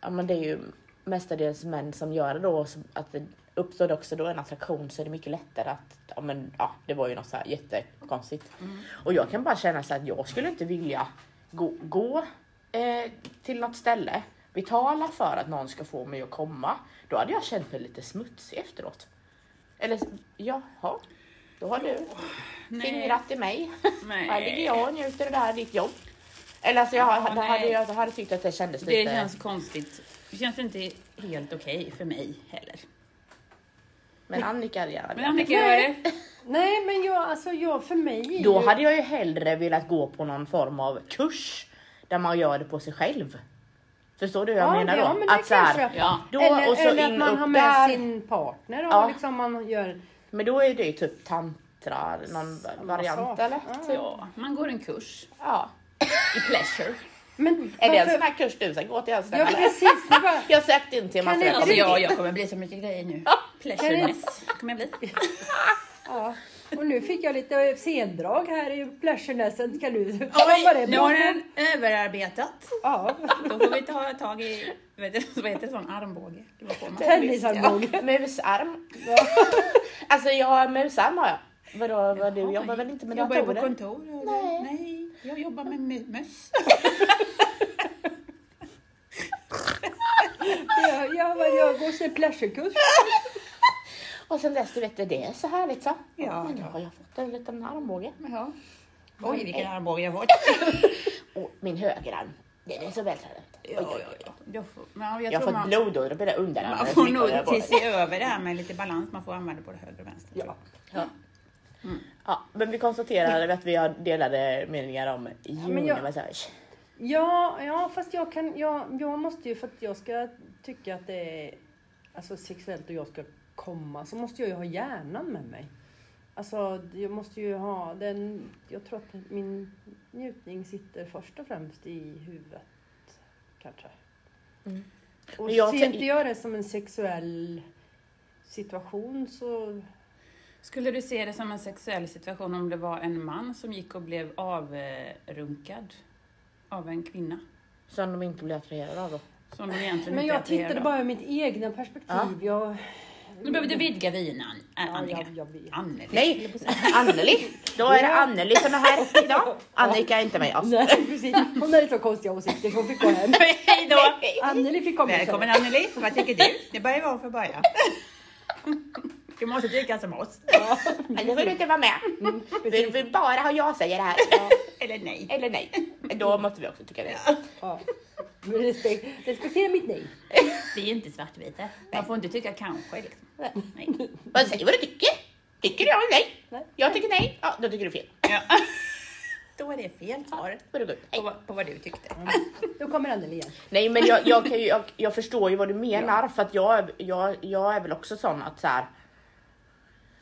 A: ja men det är ju mestadels män som gör det då så att det uppstår det också då en attraktion så är det mycket lättare att ja men ja det var ju något så här jättekonstigt
D: Mm.
A: och jag kan bara känna så här att jag skulle inte vilja gå, gå eh, till något ställe betala för att någon ska få mig att komma då hade jag känt mig lite smutsig efteråt eller jaha då har du
D: Nej.
A: fingrat i mig
D: Nej.
A: här ligger jag och njuter av det här ditt jobb eller alltså jag,
D: Ja,
A: då
D: nej.
A: hade jag, jag hade tyckt att det kändes
D: Det
A: lite
D: känns konstigt. Det känns inte helt okej för mig heller.
A: Men Annika hade gärna
D: Men
A: velat.
D: Annika gör det.
B: Nej, men jag, alltså jag, för mig är
A: Då
B: ju...
A: hade jag ju hellre velat gå på någon form av kurs där man gör det på sig själv. Förstår du hur jag
B: Ja,
A: menar då?
B: ja, men det
A: så här,
B: kan jag köpa.
D: Ja.
A: då
B: eller,
A: och så
B: eller
A: in
B: att man
A: upp
B: har med
A: där.
B: sin partner och
A: Ja.
B: liksom man gör...
A: Men då är det ju typ tantra, någon variant
B: sak.
A: eller? Typ.
D: Ja, man går en kurs
A: Ja.
D: i pleasure.
B: Men
A: Är det en
B: varför-
A: sån här kurs du ska gå till
B: Ja,
A: Hellström eller?
B: precis. Det är bara,
A: Jag sökte in till
B: Kan
A: massa
B: det-
D: Alltså
A: jävla-
D: jag, jag kommer bli så mycket grejer nu. Pleasure mess kommer jag bli.
B: ja. Och nu fick jag lite sendrag här i plashernessen. Ska du tala om vad det
D: Oj, nu har
B: beror på?
D: den överarbetat.
B: Ja,
D: Då får vi ta tag i, vet du, vad heter det, sån armbåge? Det var på mig.
B: tennisarmbåge.
A: Musarm. Alltså jag har musarm har jag. Vadå, vad, du jobbar väl inte med
D: Jobbar jag på
A: datorer?
D: kontor? eller?
A: Nej.
D: Nej, jag jobbar med mö- möss.
B: Ja, ja, men jag går sin pleasurekurs.
A: Och sen dess, du vet det är så härligt så.
D: Ja.
A: Men då har jag fått en liten armbåge.
D: Ja. Oj, vilken armbåge jag fått.
A: Och min högerarm, den är så vältränad.
D: Ja, ja, ja. Jag får, men jag
A: Jag har
D: tror
A: fått
D: man,
A: blodåder på det underarmen.
D: man
A: så
D: får
A: mycket har jag
D: nog
A: på
D: till
A: det.
D: se över det här med lite balans. Man får använda både höger och vänster. tror jag. Mm.
A: Ja, men vi konstaterade att vi har delade meningar om
B: men jag-
A: junimassage.
B: Ja, ja, fast jag kan, jag, jag måste ju för att jag ska tycka att det är alltså, sexuellt och jag ska komma så måste jag ju ha hjärnan med mig. Alltså jag måste ju ha den, jag tror att min njutning sitter först och främst i huvudet kanske.
A: Mm.
B: Och
A: Men jag
B: ser
A: tän-
B: inte jag det som en sexuell situation så
D: Skulle du se det som en sexuell situation om det var en man som gick och blev avrunkad av en kvinna?
A: Som de inte blir attraherade av då.
D: Som de egentligen
B: Men
D: inte är
B: jag tittade
D: attraherade av.
B: bara ur mitt egna perspektiv. Jag,
D: Nu behöver du vidga vinan, äh,
B: ja,
D: Annika.
B: jag, jag vet.
D: Anneli.
A: Nej, Anneli! Då är det Anneli som är här idag. Annika är inte med oss.
B: Nej, precis. Hon hade så konstiga åsikter så hon fick gå hem.
D: Hej då!
B: Anneli fick komma
D: Välkommen
B: sen.
D: Anneli, vad tycker du? Det börjar vara för början. Du måste tycka som oss.
B: Ja,
A: Men då vill du inte vara med. Vill
B: precis.
A: vi bara ha jag säger det här?
D: Eller nej.
A: Eller nej? Då måste vi också tycka det.
B: Ja. Respekt, respektera mitt nej.
D: Vi är inte svartvita. Man får inte tycka kanske liksom. Nej.
A: Vad säger vad du tycker? Tycker jag nej?
B: Nej.
A: Jag tycker nej. Ja, då tycker du fel.
D: Ja. Då är det fel svar
A: Då är det gott.
D: på,
A: Nej.
D: vad- på vad du tyckte. Alltså,
B: Då kommer den igen.
A: Nej men jag, jag, kan ju, jag, jag förstår ju vad du menar för att jag, är- jag, jag är väl också sån att så här.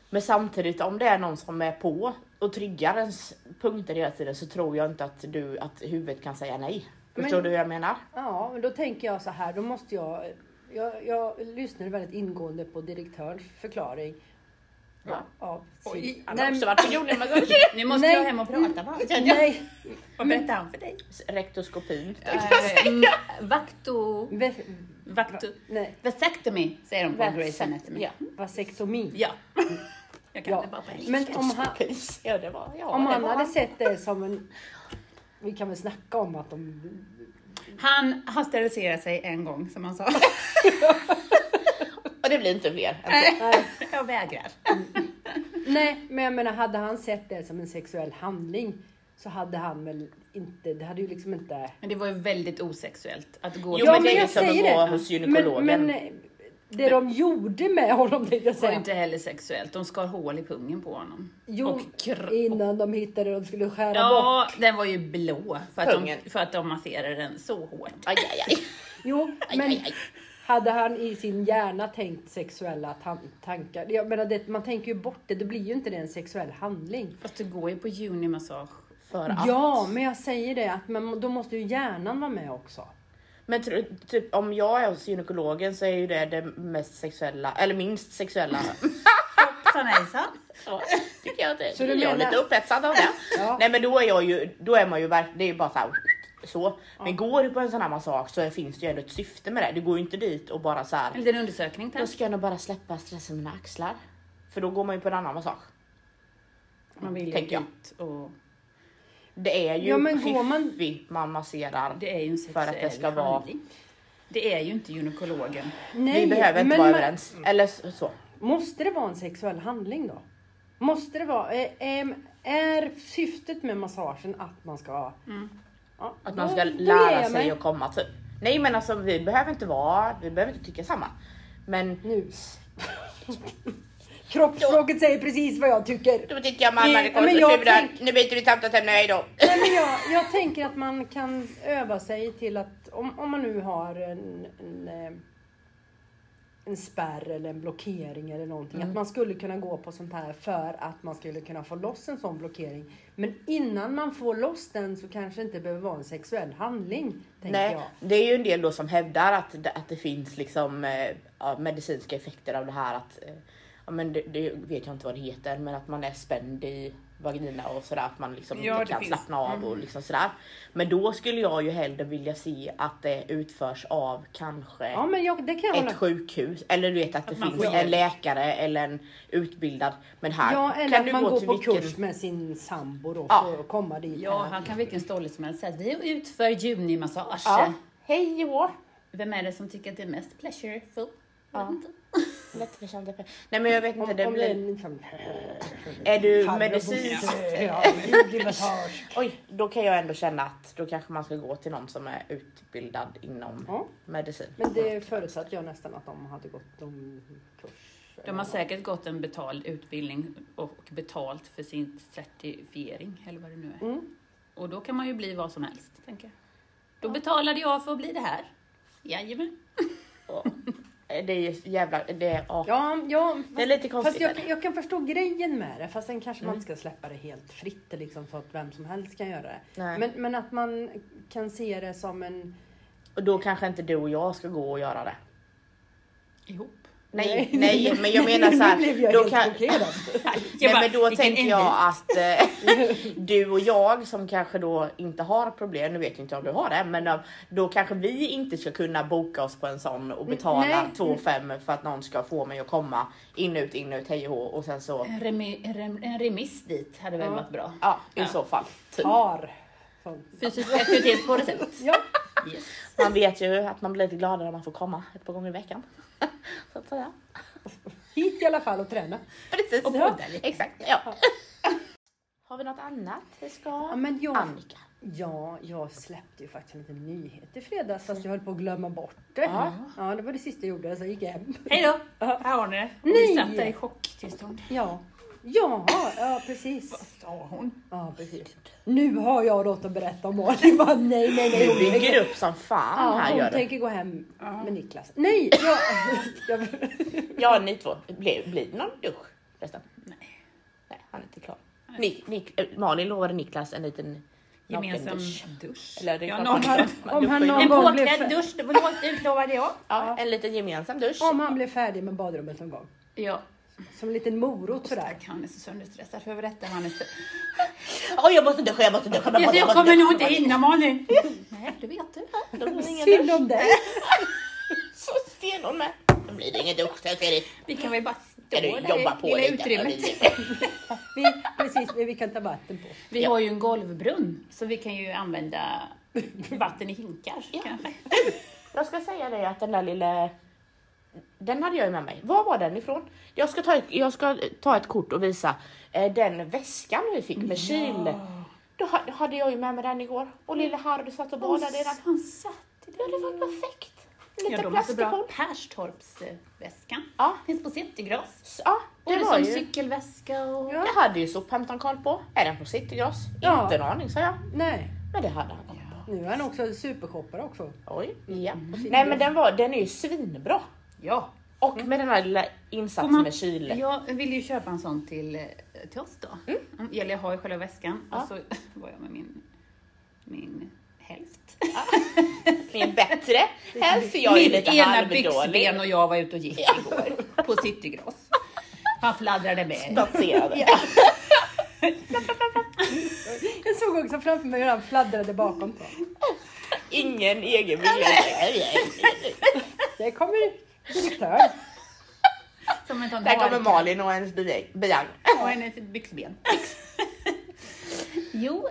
A: Men samtidigt om det är någon som är på och triggar ens punkter hela tiden så tror jag inte att du att huvudet kan säga nej. Förstår
B: Men-
A: du hur jag menar?
B: Ja, men då tänker jag så här, då måste jag... Jag, jag lyssnade väldigt ingående på direktörns förklaring.
A: Ja.
B: Ja, precis.
D: Oj,
A: Han har
B: nej,
A: också varit på jordnämnden.
D: Nu måste
B: Nej.
D: jag hem och prata bara.
B: men- nej,
D: Vad berättar han för dig?
A: Rektoskopin.
D: Mm, Vakto...
B: ve-
D: Vakto...
B: nej,
D: Vasectomy säger de på Grey's Anatomy.
A: Ja.
B: vasektomi.
D: Ja. Jag kan
B: Ja.
D: det bara på engelska.
B: Men om han,
A: Ja, det var, ja,
B: om
A: det
B: han
A: var
B: hade sett det som en... Vi kan väl snacka om att de...
D: Han, han steriliserade sig en gång som han sa.
A: Och det blir inte fler.
B: Äh.
A: än så.
B: Nej,
D: Jag vägrar.
B: nej, men jag menar hade han sett det som en sexuell handling så hade han väl inte... Det hade ju liksom inte...
D: Men det var ju väldigt osexuellt att gå
A: Jo,
D: till
A: men det är
D: läkaren.
A: ju som att gå hos gynekologen.
B: Men, men eh, det de gjorde med honom tänkte jag
D: Det var ju
B: säga.
D: inte heller sexuellt. De skar hål i pungen på honom.
B: Jo,
D: och kr-
B: innan de hittade de skulle skära bort.
D: Ja, den var ju blå för att, de,
A: Pungen.
D: för att de masserade den så hårt.
A: Aj, aj, aj.
B: Jo,
A: Aj,
B: men
A: aj, aj.
B: hade han i sin hjärna tänkt sexuella tan- tankar? Jag menar, det, man tänker ju bort det. Det blir ju inte det en sexuell handling.
D: Fast du går ju på junimassage.
A: För att.
B: Ja, men jag säger det att man, då måste ju hjärnan vara med också.
A: Men tro- typ, om jag är hos gynekologen så är ju det det mest sexuella, eller minst sexuella.
D: Hoppsan hejsan.
A: Så tycker jag att det
B: Så du
A: är. Jag är
B: menar-
A: lite upphetsad av det.
B: Ja.
A: Nej men då är jag ju, då är man ju verkligen, det är ju bara så här, så. Men går du på en sån här massage så finns det ju ändå ett syfte med det. Du går ju inte dit och bara så
D: En
A: här.
D: liten undersökning
A: Då
D: tack.
A: ska jag nog bara släppa stressen i mina axlar. För då går man ju på en annan massage.
D: Man vill ju
A: Tänker jag.
D: dit och
A: Det är ju
B: Ja, men går man-
A: fiffi man masserar.
D: det är ju en
A: För
D: sexuell
A: att det ska vara-
D: handling. Det är ju inte gynekologen.
B: Nej,
A: Vi behöver inte
B: men
A: vara
B: man-
A: överens. Eller så. så.
B: Måste det vara en sexuell handling då? Måste det vara? eh, ehm, är syftet med massagen att man ska... Ja,
A: Mm. Att man
B: då-
A: ska
B: då ger
A: lära
B: jag mig.
A: sig att komma typ. Nej men alltså vi behöver inte vara, vi behöver inte tycka samma. Men
B: Nu. Kroppsspråket säger precis vad jag tycker.
A: då tycker jag mamma det
B: Ja,
A: kommer
B: men
A: så
B: jag
A: surar.
B: tänk-
A: Nu byter vi samtalsämne, hejdå.
B: Nej, men jag, jag tänker att man kan öva sig till att om, om man nu har en, en, eh, en spärr eller en blockering eller någonting.
A: Mm.
B: Att man skulle kunna gå på sånt här för att man skulle kunna få loss en sån blockering. Men innan man får loss den så kanske det inte behöver vara en sexuell handling. Tänker
A: Nej,
B: jag.
A: det är ju en del då som hävdar att, det- att det finns liksom eh, ja, medicinska effekter av det här att, eh, ja men det, det vet jag inte vad det heter, men att man är spänd i vagina och sådär, att man liksom
D: Ja,
A: inte
D: det
A: kan
D: finns.
A: slappna av och liksom sådär. Men då skulle jag ju hellre vilja se att det utförs av kanske
B: Ja men jag, det kan jag hålla
A: ett sjukhus eller du vet att det
D: man
A: finns
D: får
A: en
D: hjälp.
A: läkare eller en utbildad. Men här
B: Ja eller
A: kan
B: att
A: du
B: man
A: gå
B: går
A: till
B: på
A: vilken...
B: kurs med sin sambo då
A: Ja.
B: för att komma dit.
D: Ja,
B: här.
D: han kan vilken stolle som helst säga att vi utför junimassage.
A: Ja. Hej och
D: Vem är det som tycker att det är mest pleasureful?
A: Ja. lättförtjänta pengar. Nej men jag vet inte, det
B: Om det är
A: blir...
B: liksom...
A: Är du
B: Farbror
A: medicinsk?
B: Bosse. Ja, ljuglig massage.
A: Oj, då kan jag ändå känna att då kanske man ska gå till någon som är utbildad inom
B: Ja.
A: medicin. Mm.
B: Men det förutsatte jag nästan att de hade gått om kurs.
D: De har säkert gått en betald utbildning och betalt för sin certifiering eller vad det nu är.
B: Mm.
D: Och då kan man ju bli vad som helst, tänker jag. Då betalade jag för att bli det här. Jajamän.
A: Och Eh, det är ju jävla... Det är, ja.
B: Ja, ja
A: Det är lite
B: fast
A: konstigt. Mm.
B: jag, jag kan förstå grejen med det. Fast sen kanske man inte ska släppa det helt fritt liksom, så att vem som helst kan göra det.
A: Nej.
B: Men, men att man kan se det som en...
A: Och då kanske inte du och jag ska gå och göra det.
D: Ihop.
A: Nej, nej, men jag menar så här,
B: nu blev jag
A: då
B: helt
A: kan-
B: blockerad.
A: Nej,
D: bara,
A: men då
D: vilken
A: tänker
D: envis.
A: jag att eh, du och jag som kanske då inte har problem, nu vet jag inte om du har det, men eh, då kanske vi inte ska kunna boka oss på en sån och betala
B: nej.
A: 2 5 för att någon ska få mig att komma in ut, in ut, hej och hå, och sen så,
D: En, remi, en rem, en remiss dit hade väl
B: Ja.
D: varit bra.
A: ja i
D: Ja.
A: så fall. Typ.
B: Har. Sånt.
D: Fysisk aktivitet på recept.
B: Ja.
D: Yes.
A: Man vet ju att man blir lite gladare om man får komma ett par gånger i veckan. så att säga.
B: Hit i alla fall och träna.
A: Precis.
D: Och podda lite.
A: Exakt. Ja. har vi något annat vi ska?
B: Ja, men jag,
A: Annika.
B: Ja, jag släppte ju faktiskt en liten nyhet i fredags
A: Mm.
B: fast jag höll på att glömma bort det. Ja, det var det sista jag gjorde, så jag gick hem.
D: Hej då! Här har ni det. Och vi
B: Nej.
D: satt där i chocktillstånd.
B: Ja, ja, ja precis.
D: Vad sa hon?
B: Ja, precis. Nu har jag något att berätta om Malin. Jag Bara, nej, nej,
A: Du
B: nej. hon tänker-
A: bygger upp som fan
B: Ja,
A: här
B: hon
A: gör du.
B: tänker gå hem med Niklas. Nej, jag... jag
A: Ja ni två, blir, blir det någon dusch förresten?
D: Nej.
A: Nej, han är inte klar. Nik, Nik, eh, Malin lovade Niklas en liten
D: Gemensam
A: nakendusch.
D: dusch.
A: Eller det är
D: ja,
A: klart
D: någon
A: man- man
B: om
D: har...
B: han
A: duschar ju.
D: En
B: någon- gång blev
D: påklädd
B: för-
D: dusch, det var något utlovade jag.
A: ja, En liten gemensam dusch.
B: om han blir färdig med badrummet någon gång.
D: Ja.
B: Som en liten morot sådär.
D: Stack, han är så sönderstressad för att berätta. Han är så...
A: Åh jag måste duscha, jag måste duscha. Jag,
D: Jag,
A: måste-
D: jag
A: måste
D: kommer
A: duscha.
D: nog inte hinna Malin. Nej, det vet du.
A: Då blir det ingen
B: Synd
A: dusch.
B: om dig.
A: Så stenhård med. Då blir det ingen dusch, så jag ser det.
D: Vi kan väl bara stå
A: Ska du jobba på
D: lilla
A: lite?
D: utrymmet.
B: Vi, precis, vi kan ta vatten på.
D: Vi har ju en golvbrunn så vi kan ju använda vatten i hinkar. kanske.
A: Jag ska säga dig att den där lilla den hade jag ju med mig. Var var den ifrån? Jag ska ta ett, jag ska ta ett kort och visa eh, den väskan vi fick med kyl. Då ha- hade jag ju med mig den igår och lilla Harry satt och badade i den.
D: Han satt i
A: Ja, det
D: den.
A: var perfekt.
D: Ja,
A: Lite
D: de är så bra.
A: plastikoll.
D: Perstorpsväskan.
A: Ja.
D: Finns på Citygross.
A: Så, Ja, det
D: Både
A: var
D: som
A: ju.
D: cykelväska och...
A: Jag hade ju sophämtarkoll på. Är den på Citygross?
B: Ja.
A: Inte en aning sa jag.
B: Nej,
A: Men det hade han.
B: nu är han också supershoppare också.
A: Oj. Ja. Nej men den, var, den är ju svinbra.
D: Ja.
A: Och med den här lilla
D: Får
A: insatsen
D: man-
A: med kyl.
D: Jag ville ju köpa en sån till, eh, till oss då. Mm. Eller jag har ju själva väskan och så var jag med min, min hälft.
A: min bättre hälft för jag är
D: Mitt
A: lite
D: ena
A: halvdålig.
D: byxben och jag var ute och gick igår på Citygross. Han fladdrade med.
A: Spatserade.
B: Jag såg också framför mig hur han fladdrade bakom. På.
A: Ingen egen miljö.
B: Det kommer direktör.
D: Som en sån
A: Där kommer
D: hark.
A: Malin och hennes bi- biang.
D: Och en ett byxben. jo,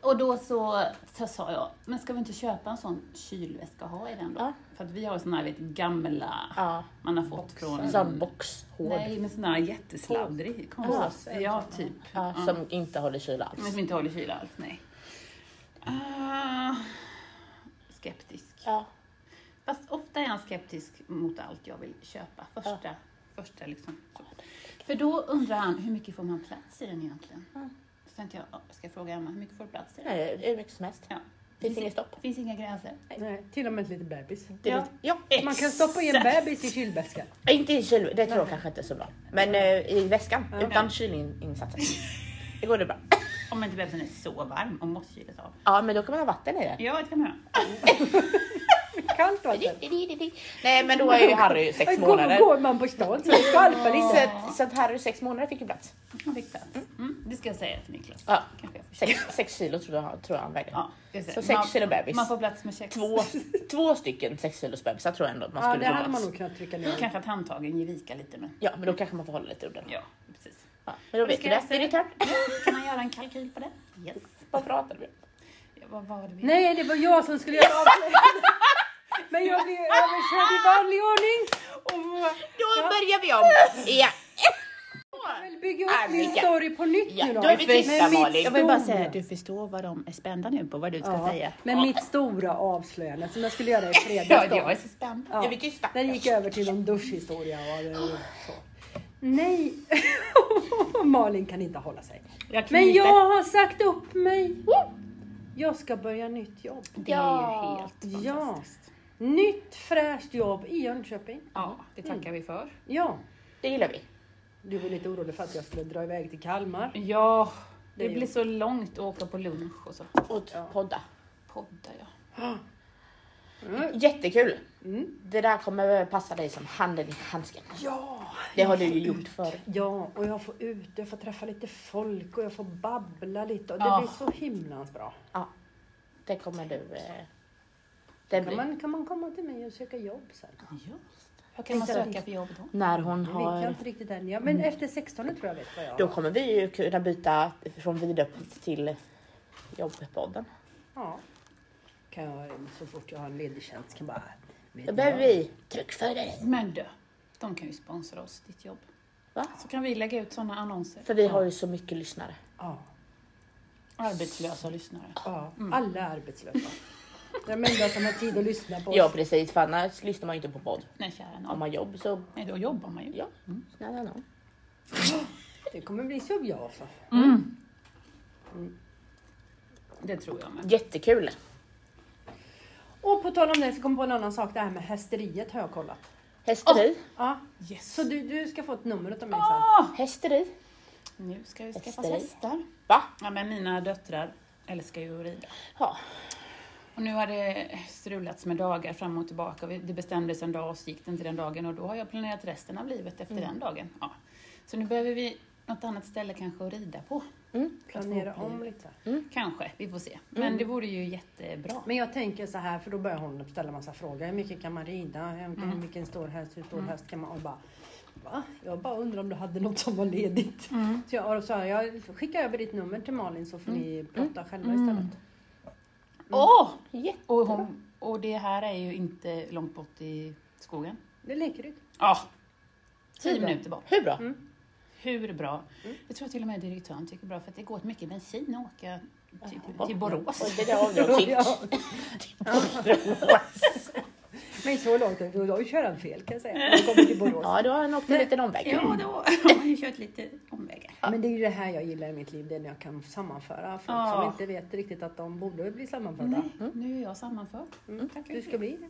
D: och då så, så sa jag, men ska vi inte köpa en sån kylväska och ha i den då?
A: Ja.
D: För att vi har såna här vet, gamla
A: Ja.
D: man har fått från...
A: Sån boxhård.
D: Nej, men sån här jättesladdrig. Konstigt. Ja, typ.
A: Ja, Mm. som inte håller kyl
D: Men
A: alls.
D: som inte håller kyla alls, nej. Ah, skeptisk.
A: Ja.
D: Fast ofta är han skeptisk mot allt jag vill köpa. Första, första liksom. Så. För då undrar han, hur mycket får man plats i den egentligen? Så tänkte jag, ja, jag ska fråga Emma, hur mycket får du plats i den?
A: Nej, hur mycket som helst.
D: Ja.
A: Finns inget stopp.
D: Finns inga gränser.
B: Nej, till och med ett litet bebis.
A: Det är
D: Ja.
A: lite- Ja.
B: Man kan stoppa in en bebis i kylväskan.
A: Inte i kyl, det tror jag kanske inte är så bra. Men eh, i väskan, utan kylinsatsen. Det går det bra.
D: Om inte bebisen är så varm och måste kylas av.
A: Ja men då kan man ha vatten i den.
D: Ja, det kan man göra.
B: Kallt vatten.
A: Nej men då är ju Harry sex månader.
B: Går man på stan så skvalpar det
A: Så
B: inte.
A: att, så att Harry sex månader fick ju plats.
D: Han fick plats. Mm, det ska jag säga till Niklas.
A: Ja.
D: Kanske jag får
A: Sex, sex kilo tror jag, tror jag han vägde.
D: Ja, det är
A: Så sex
D: Man-
A: kilo bebis.
D: Man får plats med sex.
A: två, två stycken sexkilosbebisar tror jag ändå att man
B: Ja,
A: skulle
B: det
A: få
B: hade man
A: plats.
B: nog kunnat trycka ner.
D: Kanske att handtagen ger vika lite men.
A: Ja, men då kanske man får hålla lite udden. Ja.
D: Ja, precis.
A: Men då
D: Ska
A: vet du
D: jag
A: det. Det är ditt turn.
D: Kan man göra en kalkyl på det? Yes.
A: Vad pratar vi om?
D: Ja, vad var det vi...
B: Nej, det var jag som skulle göra avslöjandet. Men jag blev överkörd i vanlig ordning.
A: Då börjar vi om! Ja!
B: Jag vill bygga
D: Äh,
B: upp min
A: Annika.
B: story på nytt
A: Ja,
B: nu då.
A: då är vi tysta,
B: Med mitt
A: Malin.
D: Jag vill bara
B: stora-
D: säga att du förstår vad de är spända nu på vad du ska
B: Ja,
D: säga.
B: Men mitt stora avslöjande som jag skulle göra i
D: Ja,
B: fredags då.
D: jag är så spänd.
A: Är vi tysta?
B: Den gick över till någon duschhistoria och det- och så.
D: Ah.
B: Nej, Malin kan inte hålla sig.
D: Jag
B: Men
D: kniper.
B: jag har sagt upp mig. Jag ska börja nytt jobb.
D: Det är ju helt
B: Ja,
D: fantastiskt.
B: nytt fräscht jobb i Jönköping.
D: Ja, det tackar vi för.
B: Ja,
A: Det gillar vi.
B: du var lite orolig för att jag skulle dra iväg till Kalmar.
D: Ja, det
B: Det är
D: blir
B: ju-
D: så långt att åka på lunch och så.
A: Och podda.
D: Podda, ja.
B: Mm.
A: Jättekul! Det där kommer passa dig som handen i handsken.
B: Ja,
A: Det har du ju gjort förr.
B: ja, och jag får ut, jag får träffa lite folk och jag får babbla lite och det
D: Ja.
B: blir så himlans bra.
A: Ja. Det kommer du... eh, Det
B: Kan
A: blir.
B: man, kan man komma till mig och söka jobb sen?
D: Just det. Vad kan man söka för jobb då?
A: När hon
B: Det vet jag
A: har...
B: inte riktigt än. Ja, men efter 16 tror jag vet vad jag
A: Då kommer vi ju kunna byta från vidöppet till jobbpodden.
B: Ja. Kan jag, så fort jag har en ledig tjänst kan jag bara... vet
A: Då
B: ni
A: behöver
B: vad?
A: vi truckförare.
D: Men du, de kan ju sponsra oss, ditt jobb.
A: Va?
D: Så kan vi lägga ut sådana annonser.
A: För vi har ju så mycket lyssnare.
B: Ja.
D: Arbetslösa lyssnare.
B: Ja, alla är arbetslösa. De enda som har tid att lyssna på oss.
A: Ja precis, för annars lyssnar man ju inte på podd.
D: Nej, kära
A: Om
D: nån.
A: man har jobb så
D: Nej, då jobbar man ju.
A: ja, snälla nån.
B: Det kommer bli som jag alltså.
D: Mm. Det tror jag med.
A: Jättekul.
B: Och på tal om det så kom jag på en annan sak. Det här med hästeriet har jag kollat.
A: Hästeri.
B: Ja,
D: Yes.
B: så du, du ska få ett nummer utav mig sen.
D: Ah,
A: Hästeri.
D: nu ska vi skaffa
A: Hästar.
D: hästar.
A: Va?
D: Ja, men mina döttrar älskar ju att rida.
A: Ja.
D: Och nu har det strulats med dagar fram och tillbaka. Vi- Det bestämdes en dag och så gick det inte den dagen och då har jag planerat resten av livet efter den dagen. Ja. Så nu behöver vi något annat ställe kanske att rida på.
B: Planera om lite.
D: Kanske, vi får se. Men det vore ju jättebra.
B: Men jag tänker så här, för då börjar hon ställa massa frågor. Hur mycket kan man rida? Hur mycket- Vilken stor häst? Hur stor häst kan man? Och bara, va? Jag bara undrar om du hade något som var ledigt. Så jag, och så här, jag skickar över ditt nummer till Malin så får ni prata själva istället.
D: Åh!
A: Jätte-
D: Och, hon, och det här är ju inte långt bort i skogen.
B: Det leker du.
D: Ja, tio
B: Hur bra?
D: minuter bort.
A: Hur bra?
D: Hur bra? Det tror jag till och med direktören tycker är bra för att det går åt mycket bensin att åka till,
A: Ja.
D: till
A: Och
D: Borås.
A: det där avdragsgillt.
B: Ja.
A: Borås.
B: Men så långt, då har ju köran fel kan jag säga. När jag kommer till Borås.
A: Ja, då har han åkt en liten omväg.
D: Ja, då har man ju kört lite omvägar.
B: Men det är ju det här jag gillar i mitt liv, det är när jag kan sammanföra folk
D: Ja.
B: som inte vet riktigt att de borde bli sammanförda.
D: Nej, nu är jag sammanförd. Tackar.
B: Mm. Du ska bli det.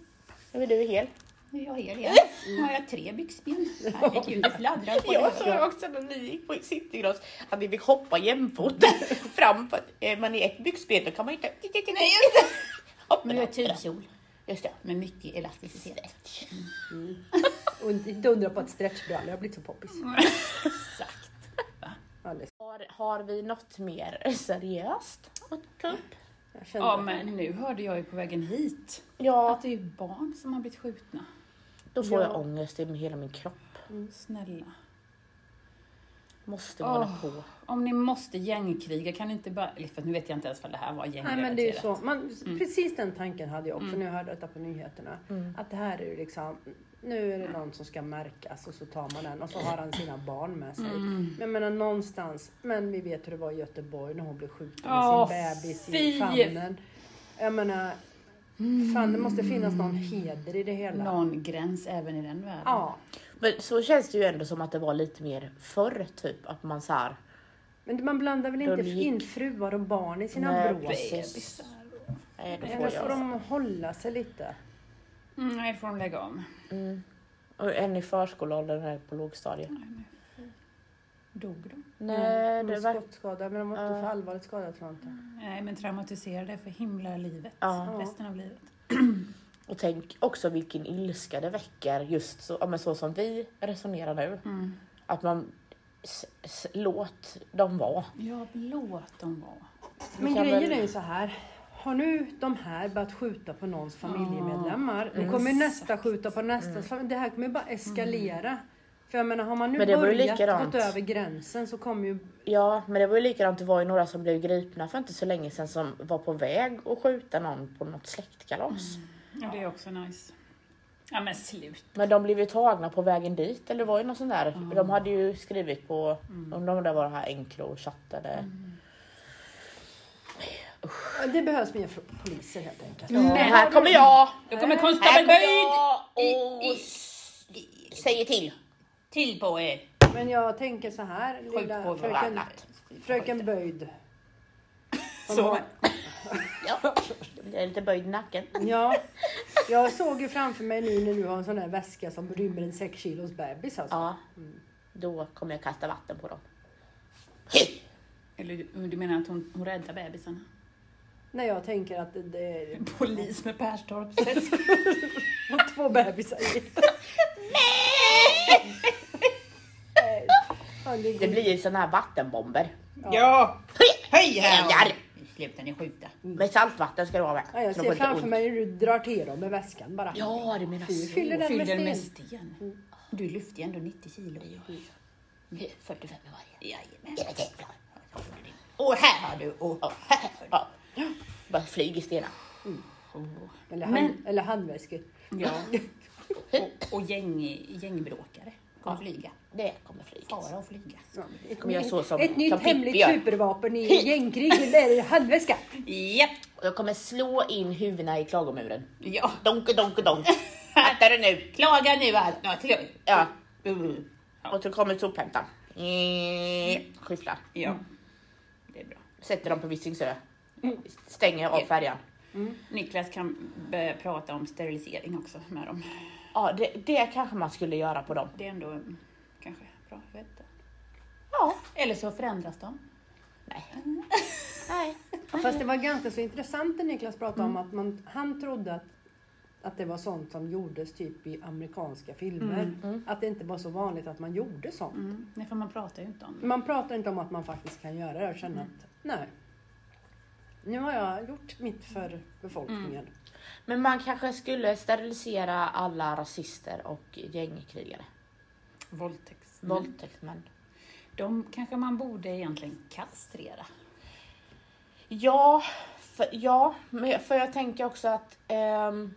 A: Nu är du hel.
D: Nu är jag hel igen.
B: Mm.
D: Nu har jag tre byxben. Herregud, det fladdrar på
A: Jag
D: det.
A: sa också när ni gick på Citygross att vi fick hoppa jämfota fram för att är man i ett byxben då kan man ju inte... Nej, just det. Hoppa
D: Men jag är tygkjol
A: Just det.
D: med mycket elasticitet.
B: Och inte undra på att stretchbrallor har blivit så poppis.
D: Exakt.
B: Alldeles.
A: Har, har vi något mer seriöst att ta upp?
B: Jag känner
D: Ja,
B: det.
D: men nu hörde jag ju på vägen hit
A: Ja,
D: att det är barn som har blivit skjutna.
A: då får
B: Ja.
A: jag ångest i hela min kropp.
D: Snälla.
A: Måste man hålla på.
D: Om ni måste gängkriga, kan ni inte bara... eller För nu vet jag inte ens vad det här var
B: Nej, men det är ju
D: gängrelaterat.
B: så. Man,
A: Mm.
B: Precis den tanken hade jag också när jag hörde detta på nyheterna. Att det här är ju liksom, nu är det någon som ska märkas och så tar man den och så har han sina barn med sig.
A: Mm.
B: Men jag menar någonstans, men vi vet hur det var i Göteborg när hon blev skjuten med
D: Åh,
B: sin bebis
D: fy!
B: i famnen. Jag menar, fan det måste finnas någon
A: Mm.
B: heder i det hela.
D: Någon gräns även i den världen.
B: Ja,
A: Men så känns det ju ändå som att det var lite mer förr typ att man så här.
B: men man blandar väl inte
A: De gick-
B: in fruar och barn i sina
A: Nej,
B: brås?
A: precis. Nej, då
B: Eller
A: får
B: får
A: jag.
B: de hålla sig lite?
D: Mm, nej, det får de lägga om.
A: Och en i förskoleåldern och en på lågstadiet.
D: Nej, men fy. Dog de?
A: Nej,
B: Någon
A: det var...
B: skottskada, men Mm, de var inte
A: Ja.
B: för allvarligt skadade tror jag inte.
D: Nej, men traumatiserade för himla livet.
A: Ja.
D: Resten av livet.
A: Och tänk också vilken ilska det väcker just så, ja, men så som vi resonerar nu.
D: Mm.
A: Att man s, s, låt dem vara.
D: Ja, låt dem vara.
B: Men
A: kan
B: grejen
A: väl-
B: är ju så här. Har nu de här börjat skjuta på någons familjemedlemmar, då kommer ju nästa skjuta på nästa.
A: Mm.
B: familj. Det här kommer ju bara eskalera. För jag menar, har man nu
A: Men det var ju
B: börjat
A: likadant.
B: gått över gränsen så kommer ju...
A: Ja, men det var ju likadant. Det var ju några som blev gripna för inte så länge sedan som var på väg att skjuta någon på något släktkalas.
D: Ja, det är också nice. Ja, men slut.
A: Men de blev ju tagna på vägen dit eller det var ju någon sån där. De hade ju skrivit på, undrar om det var det här Encrochatten. Mm.
B: Det behövs mer fr- poliser helt enkelt.
D: Men
A: här kommer jag!
D: Då kommer
A: Här kommer
D: konstapeln Böjd
A: jag och
D: I- i-
A: s- säger till. eh,
D: till på er.
B: Men jag tänker så här, lilla
D: på
B: fröken,
A: varandra.
B: fröken Böjd. Som
D: Så.
B: har-
A: Ja, jag är lite böjd i nacken.
B: Ja, jag såg ju framför mig nu när du har en sån där väska som rymmer en 6 kilos bebis alltså.
A: Ja, då kommer jag kasta vatten på dem.
D: Eller du- du menar att hon, hon räddar bebisarna?
B: När jag tänker att det- det
D: Polis med Perstorp.
B: Och två bebisar i. Nej! Han
A: Det
B: ligger-
A: blir ju såna här vattenbomber.
D: ja! Hej
A: Jävlar!
D: Sluta ni skjuta.
A: Med saltvatten ska det vara med.
B: Ja, jag
A: så de får
B: ser
A: inte
B: framför
A: ont.
B: mig hur du drar till dem med väskan bara.
A: Ja, du menar
B: Du
A: så.
B: fyller den
D: Fyll den
B: med
D: med
B: sten.
D: sten. Du lyfter ju ändå 90 kilo.
A: Det är 45 i varje.
D: Jajamän.
A: Det är tänkbart.
D: Och här har du och här har
A: Ja. Bara flyger stenar.
D: du.
B: Eller, hand,
D: Men-
B: eller handväskor.
D: Ja. Och, och gäng, gängbråkare. kommer flyga.
A: Det kommer flyga.
D: Fara och flyga.
A: Kommer göra så som-
B: ett nytt
A: som Pippi
B: hemligt
A: gör.
B: supervapen i gängkrig, det är handväska.
D: Japp!
A: Och jag kommer slå in huvudena i klagomuren.
D: Ja.
A: Donke, donke, donk. Akta dig nu!
D: Klaga nu allt. Ja, kl-
A: Ja.
D: Mm.
A: Och så kommer sophämtaren. Mm. Skyfflar.
D: ja. Det är bra.
A: Sätter dem på Visingsö. Mm. Stänger av färjan.
D: Niklas kan börja prata om sterilisering också med dem.
A: Ja, det, det kanske man skulle göra på dem.
D: Det är ändå mm, kanske bra. Jag vet inte.
A: Ja.
D: Eller så förändras de.
A: Nej. Nej.
B: Ja, Fast det var ganska så intressant det Niklas pratade om att man, han trodde att, att det var sånt som gjordes typ i amerikanska filmer.
A: Mm,
B: Att det inte var så vanligt att man gjorde sånt.
D: Mm. Nej, för man pratar ju inte om det.
B: Man pratar inte om att man faktiskt kan göra det och känna
A: Mm.
B: att nej, nu har jag gjort mitt för befolkningen.
A: Men man kanske skulle sterilisera alla rasister och gängkrigare.
D: Våldtäkt.
A: Mm. Våldtäktsmän.
D: Mm. De kanske man borde egentligen kastrera.
A: Ja, för, ja, men jag- för jag tänker också att ehm,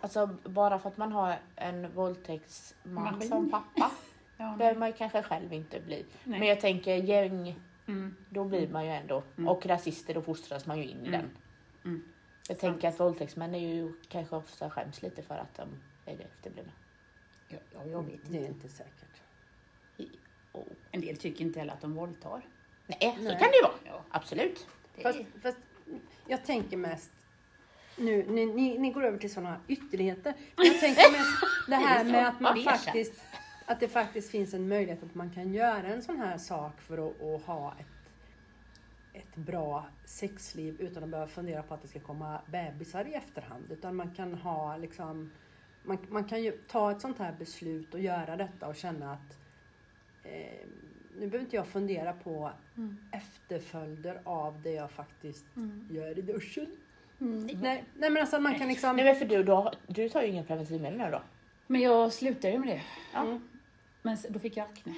A: alltså bara för att man har en våldtäktsman
D: Maskin.
A: som pappa
D: Ja,
A: behöver man ju kanske själv inte bli.
D: Nej.
A: Men jag tänker gäng,
D: Mm.
A: då blir man ju ändå. Och rasister, då fostras man ju in i den.
D: Mm.
A: Jag tänker att våldtäktsmän är ju kanske ofta skäms lite för att de är det efterblivna.
D: Ja, ja, jag
A: Mm.
D: vet
B: Det är
D: inte.
B: inte säkert.
A: Och,
D: En del tycker inte heller att de våldtar.
A: nej, så
B: Nej.
A: kan det ju vara.
D: Ja,
A: Absolut.
D: det
B: Fast,
D: är...
B: fast jag tänker mest nu, ni, ni, ni går över till sådana ytterligheter. Men jag tänker mest det här med att man
D: Beige.
B: faktiskt, att det faktiskt finns en möjlighet att man kan göra en sån här sak för att, att ha ett, ett bra sexliv utan att behöva fundera på att det ska komma bebisar i efterhand. Utan man kan ha liksom, man, man kan ju ta ett sånt här beslut och göra detta och känna att eh, nu behöver inte jag fundera på efterföljder av det jag faktiskt gör i duschen. Nej, nej men alltså att man kan liksom...
A: Nej men för du, då, du tar ju inga preventivmedel nu då.
D: Men jag slutade ju med det. Mm.
A: Ja.
D: Men s- då fick jag akne.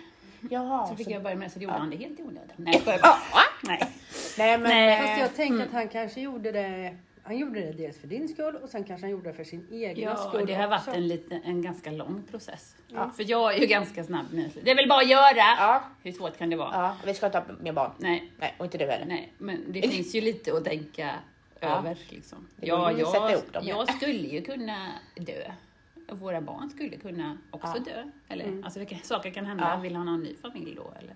A: Jaha.
D: Så fick
A: så-
D: jag börja med det, så det gjorde han det helt i onödan. Nej, jag skojar bara.
A: Ja, ja.
D: Nej.
A: Nej men
D: Nej.
B: Fast jag tänker att han kanske gjorde det... Han gjorde det dels för din skull och sen kanske han gjorde det för sin egen
D: Ja,
B: skull
D: det har varit
B: också.
D: en, liten, en ganska lång process.
A: Ja.
D: För jag är ju ganska snabb med det. Det är väl bara att göra!
A: Ja.
D: Hur svårt kan det vara?
A: Ja, vi ska inte ha mer barn.
D: Nej,
A: Nej, och inte du heller.
D: nej, men det finns ju lite att tänka
A: Ja.
D: över liksom.
A: Det går ju att sätta ihop dem, ja.
D: jag skulle ju kunna dö. Och Våra barn skulle kunna också dö. Eller, alltså, det kan, saker kan hända.
A: Mm. Ja. Mm.
D: Vill han ha en ny familj då? Eller?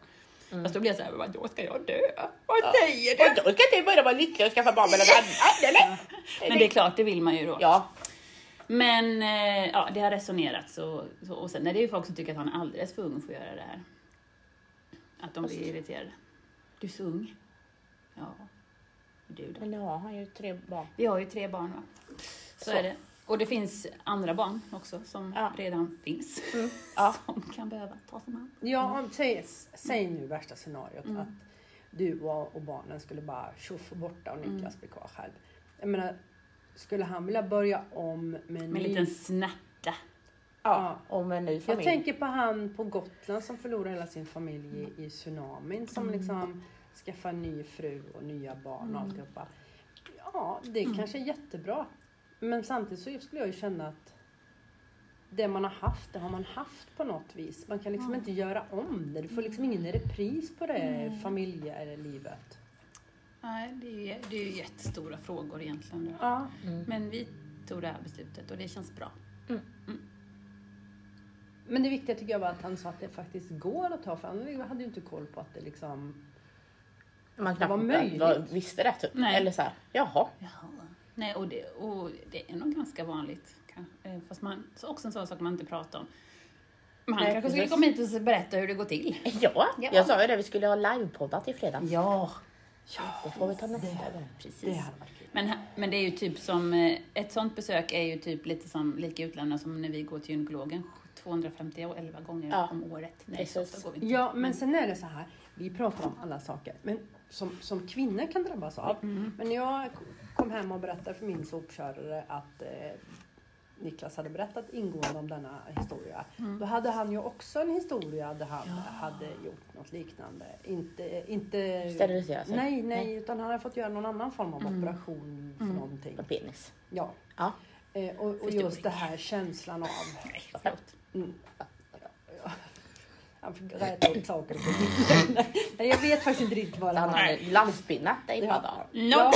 D: Fast då blir jag såhär, vadå ska jag dö? Vad säger du?
A: Och då ska inte börja vara lycklig och skaffa barn med någon annan, eller?
D: Men det är klart, det vill man ju då.
A: Ja,
D: Men eh, ja, det har resonerats och, så, och sen är det ju folk som tycker att han är alldeles för ung för att göra det här. Att de blir irriterade. Du är så ung. Ja. Du då?
A: men nu har han ju tre barn.
D: Vi har ju tre barn va? Så,
A: Så.
D: är det. Och det finns andra barn också som
A: Ja.
D: redan finns.
A: Ja.
D: Som kan behöva tas om hand.
B: Ja, om, säg, säg nu värsta scenariot att du och, och barnen skulle bara tjoff borta och Niklas blir kvar själv. Jag menar, skulle han vilja börja om med en
D: Med en
B: ny-
D: liten snärta.
A: Ja, och med en ny
B: Jag
A: familj.
B: tänker på han på Gotland som förlorade hela sin familj i, i tsunamin som liksom skaffade en ny fru och nya barn och alltihopa. Ja, det kanske är jättebra. Men samtidigt så skulle jag ju känna att det man har haft, det har man haft på något vis. Man kan liksom inte göra om det. Du får liksom ingen repris på det familjelivet.
D: Nej, det är, ju, det är ju jättestora frågor egentligen. då.
B: Ja.
D: Men vi tog det här beslutet och det känns bra.
B: Men det viktiga tycker jag var att han sa att det faktiskt går att ta för han hade ju inte koll på att det liksom...
A: Man knappt
B: vad möjligt.
A: vad- visste det typ.
D: Nej.
A: Eller så här, jaha.
D: Jaha. Nej, och det, och det är nog ganska vanligt. kan- eh, Fast man, så också en sån sak man inte pratar om. Men han
A: Nej,
D: kanske skulle
A: precis.
D: komma hit och berätta hur det går till.
A: Ja,
D: Ja.
A: jag sa ju det, vi skulle ha livepoddat i fredag.
D: Ja,
A: Det får vi ta nästa gång.
B: Det
D: precis.
B: hade varit kul.
D: Men, ha- men det är ju typ som, eh, ett sånt besök är ju typ lite som lika utlämnande som när vi går till gynekologen 211 gånger
A: Ja,
D: om året. Nej, så
A: precis.
D: ofta går vi inte.
B: Ja, men sen är det så här. Vi pratar om alla saker men som, som kvinnor kan drabbas av. Men jag kom hem och berättade för min sopkörare att eh, Niklas hade berättat ingående om denna historia. Då hade han ju också en historia där han hade gjort något liknande. Inte... inte
A: Sterilisera sig.
B: Nej, nej, utan han hade fått göra någon annan form av operation för någonting.
A: På penis.
B: Ja.
A: Ja.
B: Eh, och, och
D: Förstoring.
B: just det här känslan av...
D: Nej, förlåt.
B: Mm. Han fick räta upp saker och ting. Nej, jag vet faktiskt inte riktigt vad det
A: Han
B: var.
A: har landspinnat dig
B: Ja.
A: padda.
B: Ja,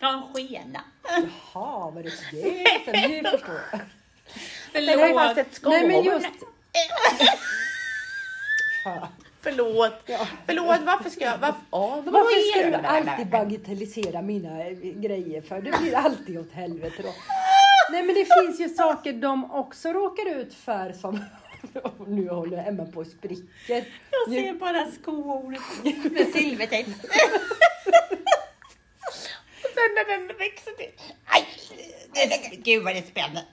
D: No. Någon skena.
B: Jaha, var det det? Nu förstår jag.
A: Det var ju faktiskt
D: Förlåt.
A: ett skål.
B: Nej men just... Fan.
A: Förlåt.
B: Ja.
A: Förlåt, varför ska jag... Varför, ja, vad
B: Varför
A: är
B: ska
A: det
B: du
A: med det här?
B: alltid bagatellisera mina eh, grejer för? Det blir alltid åt helvete då. Nej men det finns ju saker de också råkar ut för som... Nu håller Emma på och spricker.
D: Jag
B: Nu-
D: ser bara skor med silvertejp. Och sen när den växer till. Aj! Gud vad det spänner.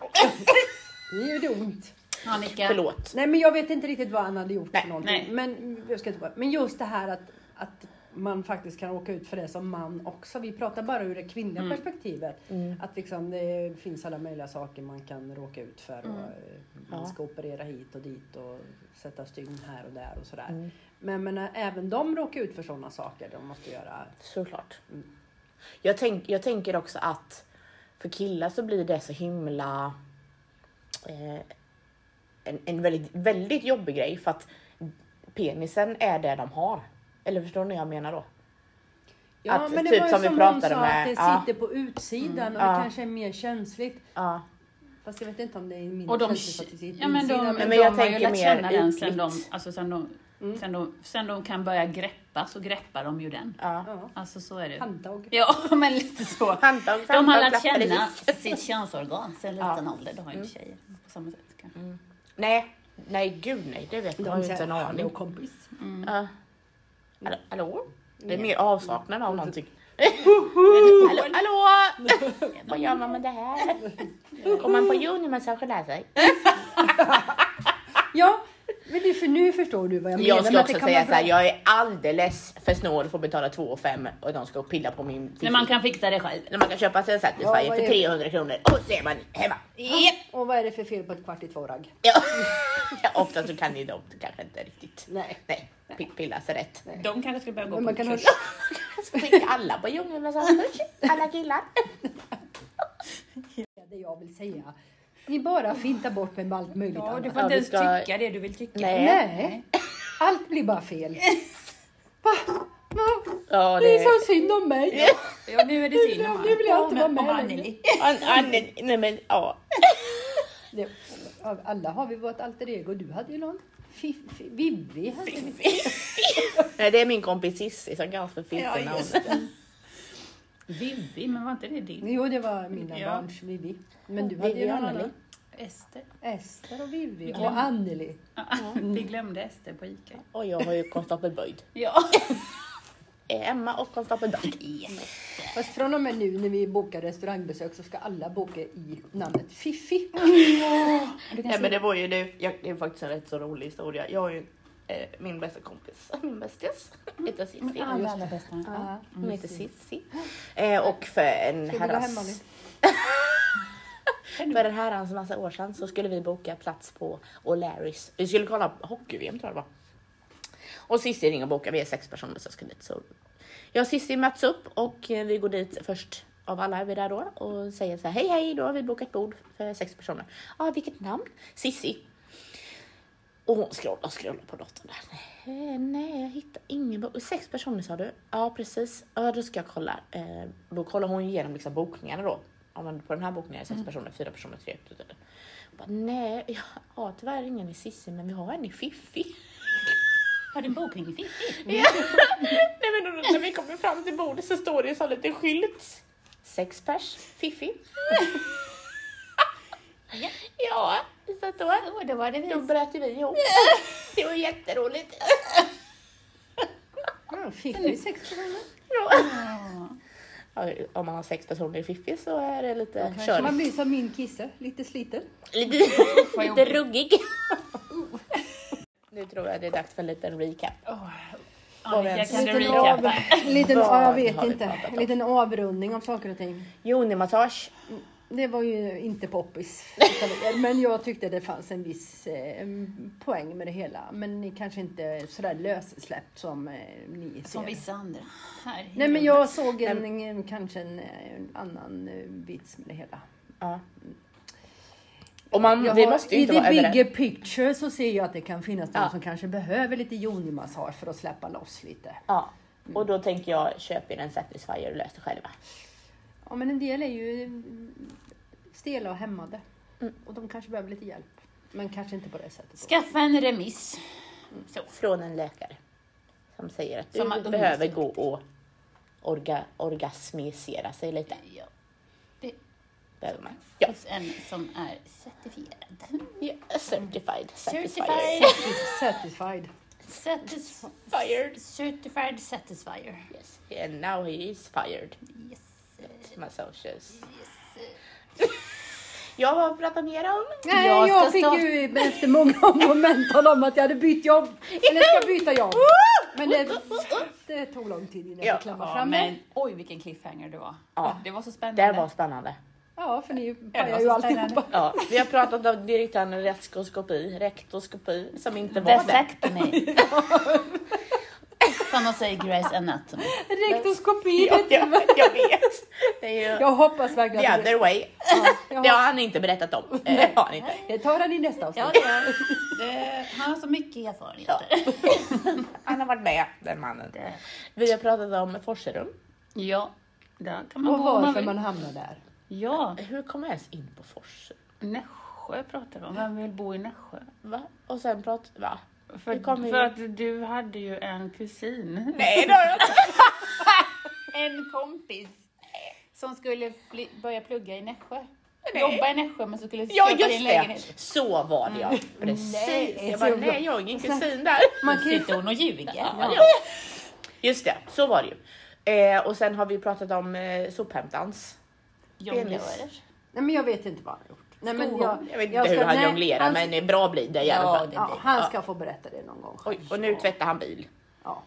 B: Det gör det ont.
D: Ja, Mika.
A: Förlåt.
B: Nej men jag vet inte riktigt vad han hade gjort
A: Nej,
B: för någonting.
D: nej.
B: Men, jag ska inte, bara- men just det här att, att man faktiskt kan råka ut för det som man också. Vi pratar bara ur det kvinnliga
D: Mm.
B: perspektivet.
A: Mm.
B: Att liksom det finns alla möjliga saker man kan råka ut för. Och
D: Mm.
B: eh, man
A: Ja.
B: ska operera hit och dit och sätta stygn här och där och sådär.
A: Mm.
B: Men, men eh, även de råkar ut för sådana saker. De måste göra...
A: Såklart.
B: Mm.
A: Jag, tänk, jag tänker också att för killar så blir det så himla... Eh, en en väldigt, väldigt jobbig grej för att penisen är det de har. Eller förstår ni vad jag menar då?
B: Ja
A: Att
B: men det
A: typ
B: var ju
A: som
B: som,
A: vi
B: någon sa
A: pratade med-
B: att det
A: ja. Mm.
B: sitter på utsidan och
A: Ja.
B: det kanske är mer känsligt.
A: Ja.
B: Fast jag vet inte om det är mindre
D: Och de,
B: känsligt att det sitter på
D: ja, men de,
B: insidan,
D: de,
A: men
D: de
A: jag
D: har ju
A: tänker
D: lärt
A: mer
D: känna den sen de,
A: ytligt.
D: alltså sen, de,
B: Mm.
D: sen, de, sen de kan börja greppa så greppar de ju den.
A: ja.
B: Ja.
D: Alltså så är det.
B: Handtag.
D: Ja, men lite så.
A: Handtag,
D: De har
A: handtag,
D: lärt
A: klappar
D: känna
A: lite.
D: sitt könsorgan sen liten ålder. Det har ju inte
B: Mm.
D: tjejer på samma sätt kanske.
A: Nej, nej gud nej, det vet jag. jag har ju inte en
D: "Ah,
A: aning.
B: kompis.
A: Ja. Hallå? Hallå? Det är mer avsaknad av någonting. hallå, hallå! Vad gör man med det här? Går man på junimassage och lär sig?
B: Ja, men nu, för nu förstår du vad jag menar.
A: Jag
B: med
A: ska
B: att det
A: också
B: kan
A: säga
B: vara
A: så här,
B: bra.
A: jag är alldeles för snål för att betala 2 och fem och de ska pilla på min
D: Men man kan fixa det själv.
A: När man kan köpa sig en Satisfyer
B: Ja, vad
A: för
B: är-
A: 300 kronor och så är man hemma.
D: Japp.
B: Och vad är det för fel på ett kvart i två-ragg?
A: Ja. Ja, Ofta så kan ju de kanske inte riktigt
B: Nej.
A: nej, pi- pilla sig rätt.
D: De kanske ska börja gå
B: Men man
D: på
B: kan
D: kurs.
B: hålla...
A: Skicka alla på junimassage, alla killar.
B: Det jag vill säga. Ni bara fintar bort mig med allt möjligt
D: Ja, du
B: annat.
D: får inte
A: Ja,
D: ens
A: vi ska-
D: tycka det du vill tycka.
A: Nej.
B: Nej, allt blir bara fel. Va? Va?
A: Ja,
B: Det är så synd om mig.
D: Ja, nu är det synd om
B: Nu vill jag inte vara
D: om- om
B: med
D: Anneli.
A: An, an, nej men ja.
B: Det, av alla har vi vårt alter ego. Du hade ju någon. Fiffi, Vivi hade vi.
A: Nej, det är min kompis Cissi som kallas för
D: Ja,
A: Fiffen.
D: just det. Vivi, men var inte det din?
B: Jo, det var mina
D: Ja.
B: barns Vivi. Men du hade ju
A: Vivi och
B: någon
A: Anneli.
B: annan.
D: Ester.
B: Ester och Vivi
D: glömde.
B: och Anneli.
D: Vi glömde Ester på Ica.
A: och jag har ju konstapel Böjd.
D: Ja.
A: Eh, Emma och konstapel Böjd.
B: Fast från och med nu när vi bokar restaurangbesök så ska alla boka i namnet Fiffi.
A: Nej men det var ju det, jag, det är faktiskt en rätt så rolig historia. Jag har ju eh, min bästa kompis, min bästis, heter Cissi.
D: Alla, alla bästa.
B: Ja.
A: Hon heter Cissi. Eh, och för en
B: Ska du gå hemma
A: herrans...
B: nu?
A: För en herrans massa år sedan så skulle vi boka plats på O'Larrys. Vi skulle kolla hockey-VM tror jag det var. Och Cissi ringer och bokar, vi är sex personer som ska dit. Så jag och Cissi möts upp och eh, vi går dit först av alla är vi där då och säger så här hej hej, då har vi bokat bord för sex personer. Ja, ah, vilket namn? Cissi. Och hon scrollar och scrollar på datorn där. Eh, Nej, jag hittar ingen bok. Sex personer sa du? Ja, precis. Ja, då ska jag kolla. Eh, Då kollar hon igenom liksom bokningarna då. Ja, men på den här bokningen är det sex personer, fyra personer, tre. tre, tre. Hon bara, Nej, jag har tyvärr ingen i Cissi, men vi har en i Fiffi.
D: Har du en bokning i Fifi?
A: Ja. Nej men då, när vi kommer fram till bordet så står det en sån liten skylt. Sex pers, Fiffi.
D: Ja.
A: Ja, så att då,
D: Jo, det var det
A: då
D: vi.
A: bröt ju vi ihop. Det var jätteroligt.
B: Ja, Mm, Fiffi sex personer.
A: Ja.
D: Ja.
A: Ja, Om man har sex personer i Fiffi så är det lite
B: Kanske man
A: kör.
B: blir som min kisse, lite sliten.
A: Lite,
D: Vad
A: lite
D: jobbigt.
A: ruggig. Nu tror jag det är dags för en liten recap.
D: Åh.
A: Var vi
D: Annika,
A: ens-
D: kan du
B: Liten,
D: recapa?
B: liten,
A: Vad
B: ja, jag
A: har
B: vet
A: vi
B: inte.
A: pratat om?
B: En liten avrundning av saker och ting.
A: Jonimassage.
B: Det var ju inte poppis. utav er, Men jag tyckte det fanns en viss eh, poäng med det hela. Men ni kanske inte sådär lössläppt som eh, ni ser.
D: Som vissa andra här.
B: Nej men jag såg en, kanske en, eh, annan eh, vits med det hela.
A: Ja. Och man,
B: Jag
A: Mm, vi
B: har-
A: måste ju
B: I
A: inte
B: the
A: vara
B: bigger
A: överens.
B: picture så ser jag att det kan finnas de
A: Ja.
B: som kanske behöver lite jonimassage för att släppa loss lite.
A: Ja. Och då tänker jag, köp er en Satisfyer och lös det själva.
B: Ja, men en del är ju mm, stela och hämmade.
A: Mm.
B: Och de kanske behöver lite hjälp. Men kanske inte på det sättet. då.
D: Skaffa en remiss. Så.
A: Från en läkare. Som säger att du
D: Som har
A: behöver
D: undersökt.
A: gå och orga, orgasmisera sig lite.
D: Ja. Det
A: Behöver man. Ja.
D: finns en som är certifierad.
A: Ja, certified. Satisfyer.
D: Certified.
B: Satisfied.
D: Satisfied. Certified satisfier.
A: Yes. And now he is fired.
D: Yes.
A: My socials. Jag har pratat mer om.
B: Nej,
D: Jag
B: jag,
D: ska
B: fick
D: stå-
B: ju efter många om och men tala om att jag hade bytt jobb. Eller ska byta jobb. Men det, det tog lång tid innan
A: Ja,
B: jag fick klämma fram mig.
D: oj vilken cliffhanger det var.
A: Ja.
D: Det var så spännande.
A: Det var spännande.
B: Ja, för ni
D: var
B: pajar
D: så
B: ju
D: spännande.
B: alltihopa.
A: Ja, vi har pratat om direktan rektoskopi, rektoskopi som inte var det.
D: Vasectomy. Som de säger Grace Anatomy.
B: Rektoskopi.
A: Ja, jag, jag vet. Det är ju
B: Jag hoppas verkligen
A: the
B: att
A: other way.
B: Ja,
A: Det
B: jag
A: har
B: hoppas-
A: han inte berättat om. Eh, Det har han inte.
B: Det tar han i nästa
D: Ja,
B: avsnitt.
D: det är. Det, han har så mycket erfarenheter.
A: Han har varit med, den mannen.
D: Det-
A: Vi har pratat om Forserum.
D: Ja, där kan man
B: Och
D: gå om man
B: varför
D: vill.
B: man hamnar där.
D: Ja,
A: Hur kom jag ens in på Forserum?
D: Nässjö pratar vi om. Vem vill bo i Nässjö?
A: Va? Och sen pratade... Va?
D: För,
A: Vi kommer ju-
D: för att du hade ju en kusin.
A: Nej, det har jag inte.
D: En kompis. Som skulle fly- börja plugga i Nässjö. Jobba i Nässjö men så skulle
A: Ja,
D: köpa
A: just
D: din
A: det.
D: lägenhet.
A: Så var det ja. Precis.
B: Nej,
A: Jag bara,
B: så bra.
A: nej, jag har ingen kusin där.
B: Man kan ju
D: Sitter hon och ljuger?
A: Ja. Just det, så var det ju. Eh, och sen har vi pratat om eh, sophämtans.
D: Jonglörer.
B: Nej men jag vet inte vad han har gjort. Nej, men jag,
A: Jag vet inte
B: jag
A: hur
B: ska-
A: han
B: nej,
A: jonglerar
B: han-
A: men det är bra blir det i alla
D: Ja,
A: fall.
D: det-
B: Ja, han ska få berätta det någon gång.
A: Oj, och nu tvättar han bil.
B: Ja,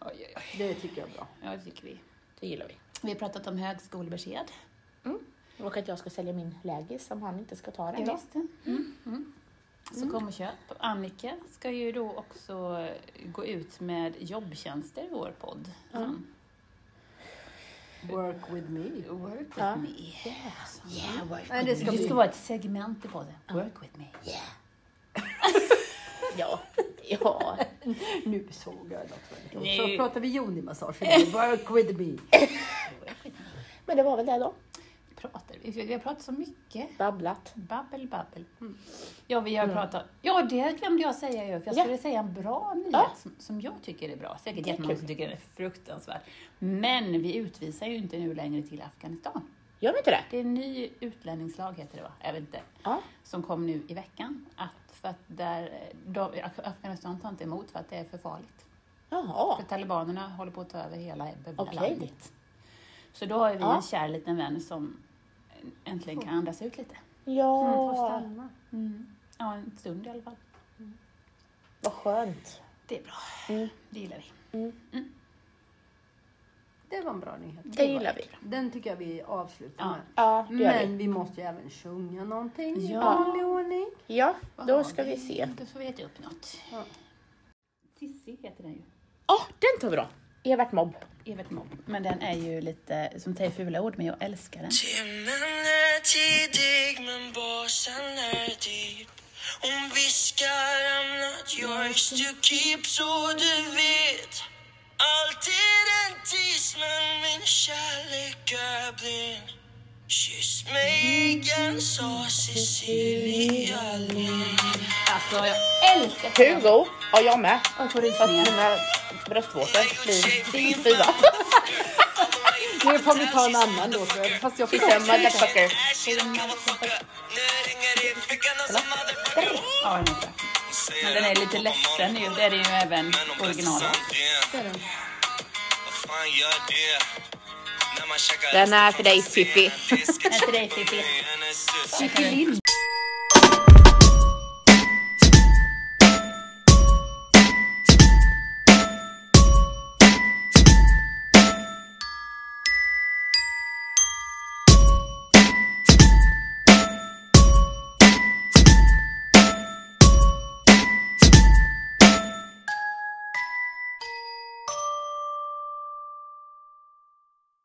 D: Oj, oj, oj.
B: det tycker jag är bra.
D: Ja, det tycker vi.
A: Det gillar vi.
D: Vi har pratat om högskolebesked.
A: Och att jag ska sälja min lägis som han inte ska ta den.
D: Ja,
A: då.
D: visst det. Mm. Mm. Så kom och köp. Annika ska ju då också eh, gå ut med jobbtjänster i vår podd. Mm.
B: Work with me.
D: Work with
A: Ja.
D: me. Yeah, work
B: Nej, det
D: with
B: ska
D: me. Det
B: bli-
D: ska vara ett segment i podden. Work with me.
A: Ja. ja.
B: Nu såg jag något väldigt
D: Nej.
B: roligt. Så pratar vi jonimassage. nu. Work with me.
A: Men det var väl det då.
D: Pratar vi? Vi har pratat så mycket.
A: Babblat.
D: Babbel, babbel. Ja, vi har pratat. Ja, det glömde jag säga ju. För jag
A: Ja.
D: skulle säga en bra nyhet
A: Ja.
D: som, som jag tycker är bra. Säkert
A: Det är
D: jättemånga
A: kul.
D: som tycker den är fruktansvärd. Men vi utvisar ju inte nu längre till Afghanistan.
A: Gör ni inte det?
D: Det är en ny utlänningslag heter det va? Jag vet inte.
A: Ja.
D: Som kom nu i veckan. Att för att där, de, Afghanistan tar inte emot för att det är för farligt.
A: Jaha.
D: För talibanerna håller på att ta över hela bubbla
A: Okej.
D: landet. Så då har vi
A: Ja.
D: en kär liten vän som äntligen kan andas ut lite.
B: Får
A: Ja.
B: stanna.
D: Ja, en stund i alla fall.
A: Vad skönt.
D: Det är bra.
A: Mm.
D: Det gillar vi.
B: Det var en bra nyhet.
A: Det gillar vi.
B: Den tycker jag vi avslutar
D: Ja.
B: med.
A: Ja, det gör vi.
B: Men vi måste ju även sjunga någonting i
D: Ja.
B: vanlig ordning.
A: Ja,
D: Vad
A: då
D: har
A: ska vi se.
D: Då får vi äta upp något.
B: Ja.
D: Sissi heter den ju.
A: Ja, Ah, den tar vi då. Evert Mobb.
D: Evert Mobb. Men den är ju lite, som säger fula ord, men jag älskar den.
C: Timmen är tidig men basen är dyr Hon viskar I'm not yours to keep så du vet Alltid en tis men min kärlek är blind Kyss mig igen sa Cecilia Lind
D: Alltså, jag älskar den.
A: Hugo. Ja, jag med.
D: Och jag får
A: Fast
D: rysningar.
A: mina bröstvårtor blir din fyra.
B: Nu får vi ta en annan då. för- Fast jag fick
A: Skitsamma,
C: Äh,
A: motherfucker.
D: Ja, den är bra. Men den är lite ledsen ju. Det är det ju även originalet.
A: Den är för dig, Pippi.
D: Nej, till dig Pippi.
B: Pippi Lind.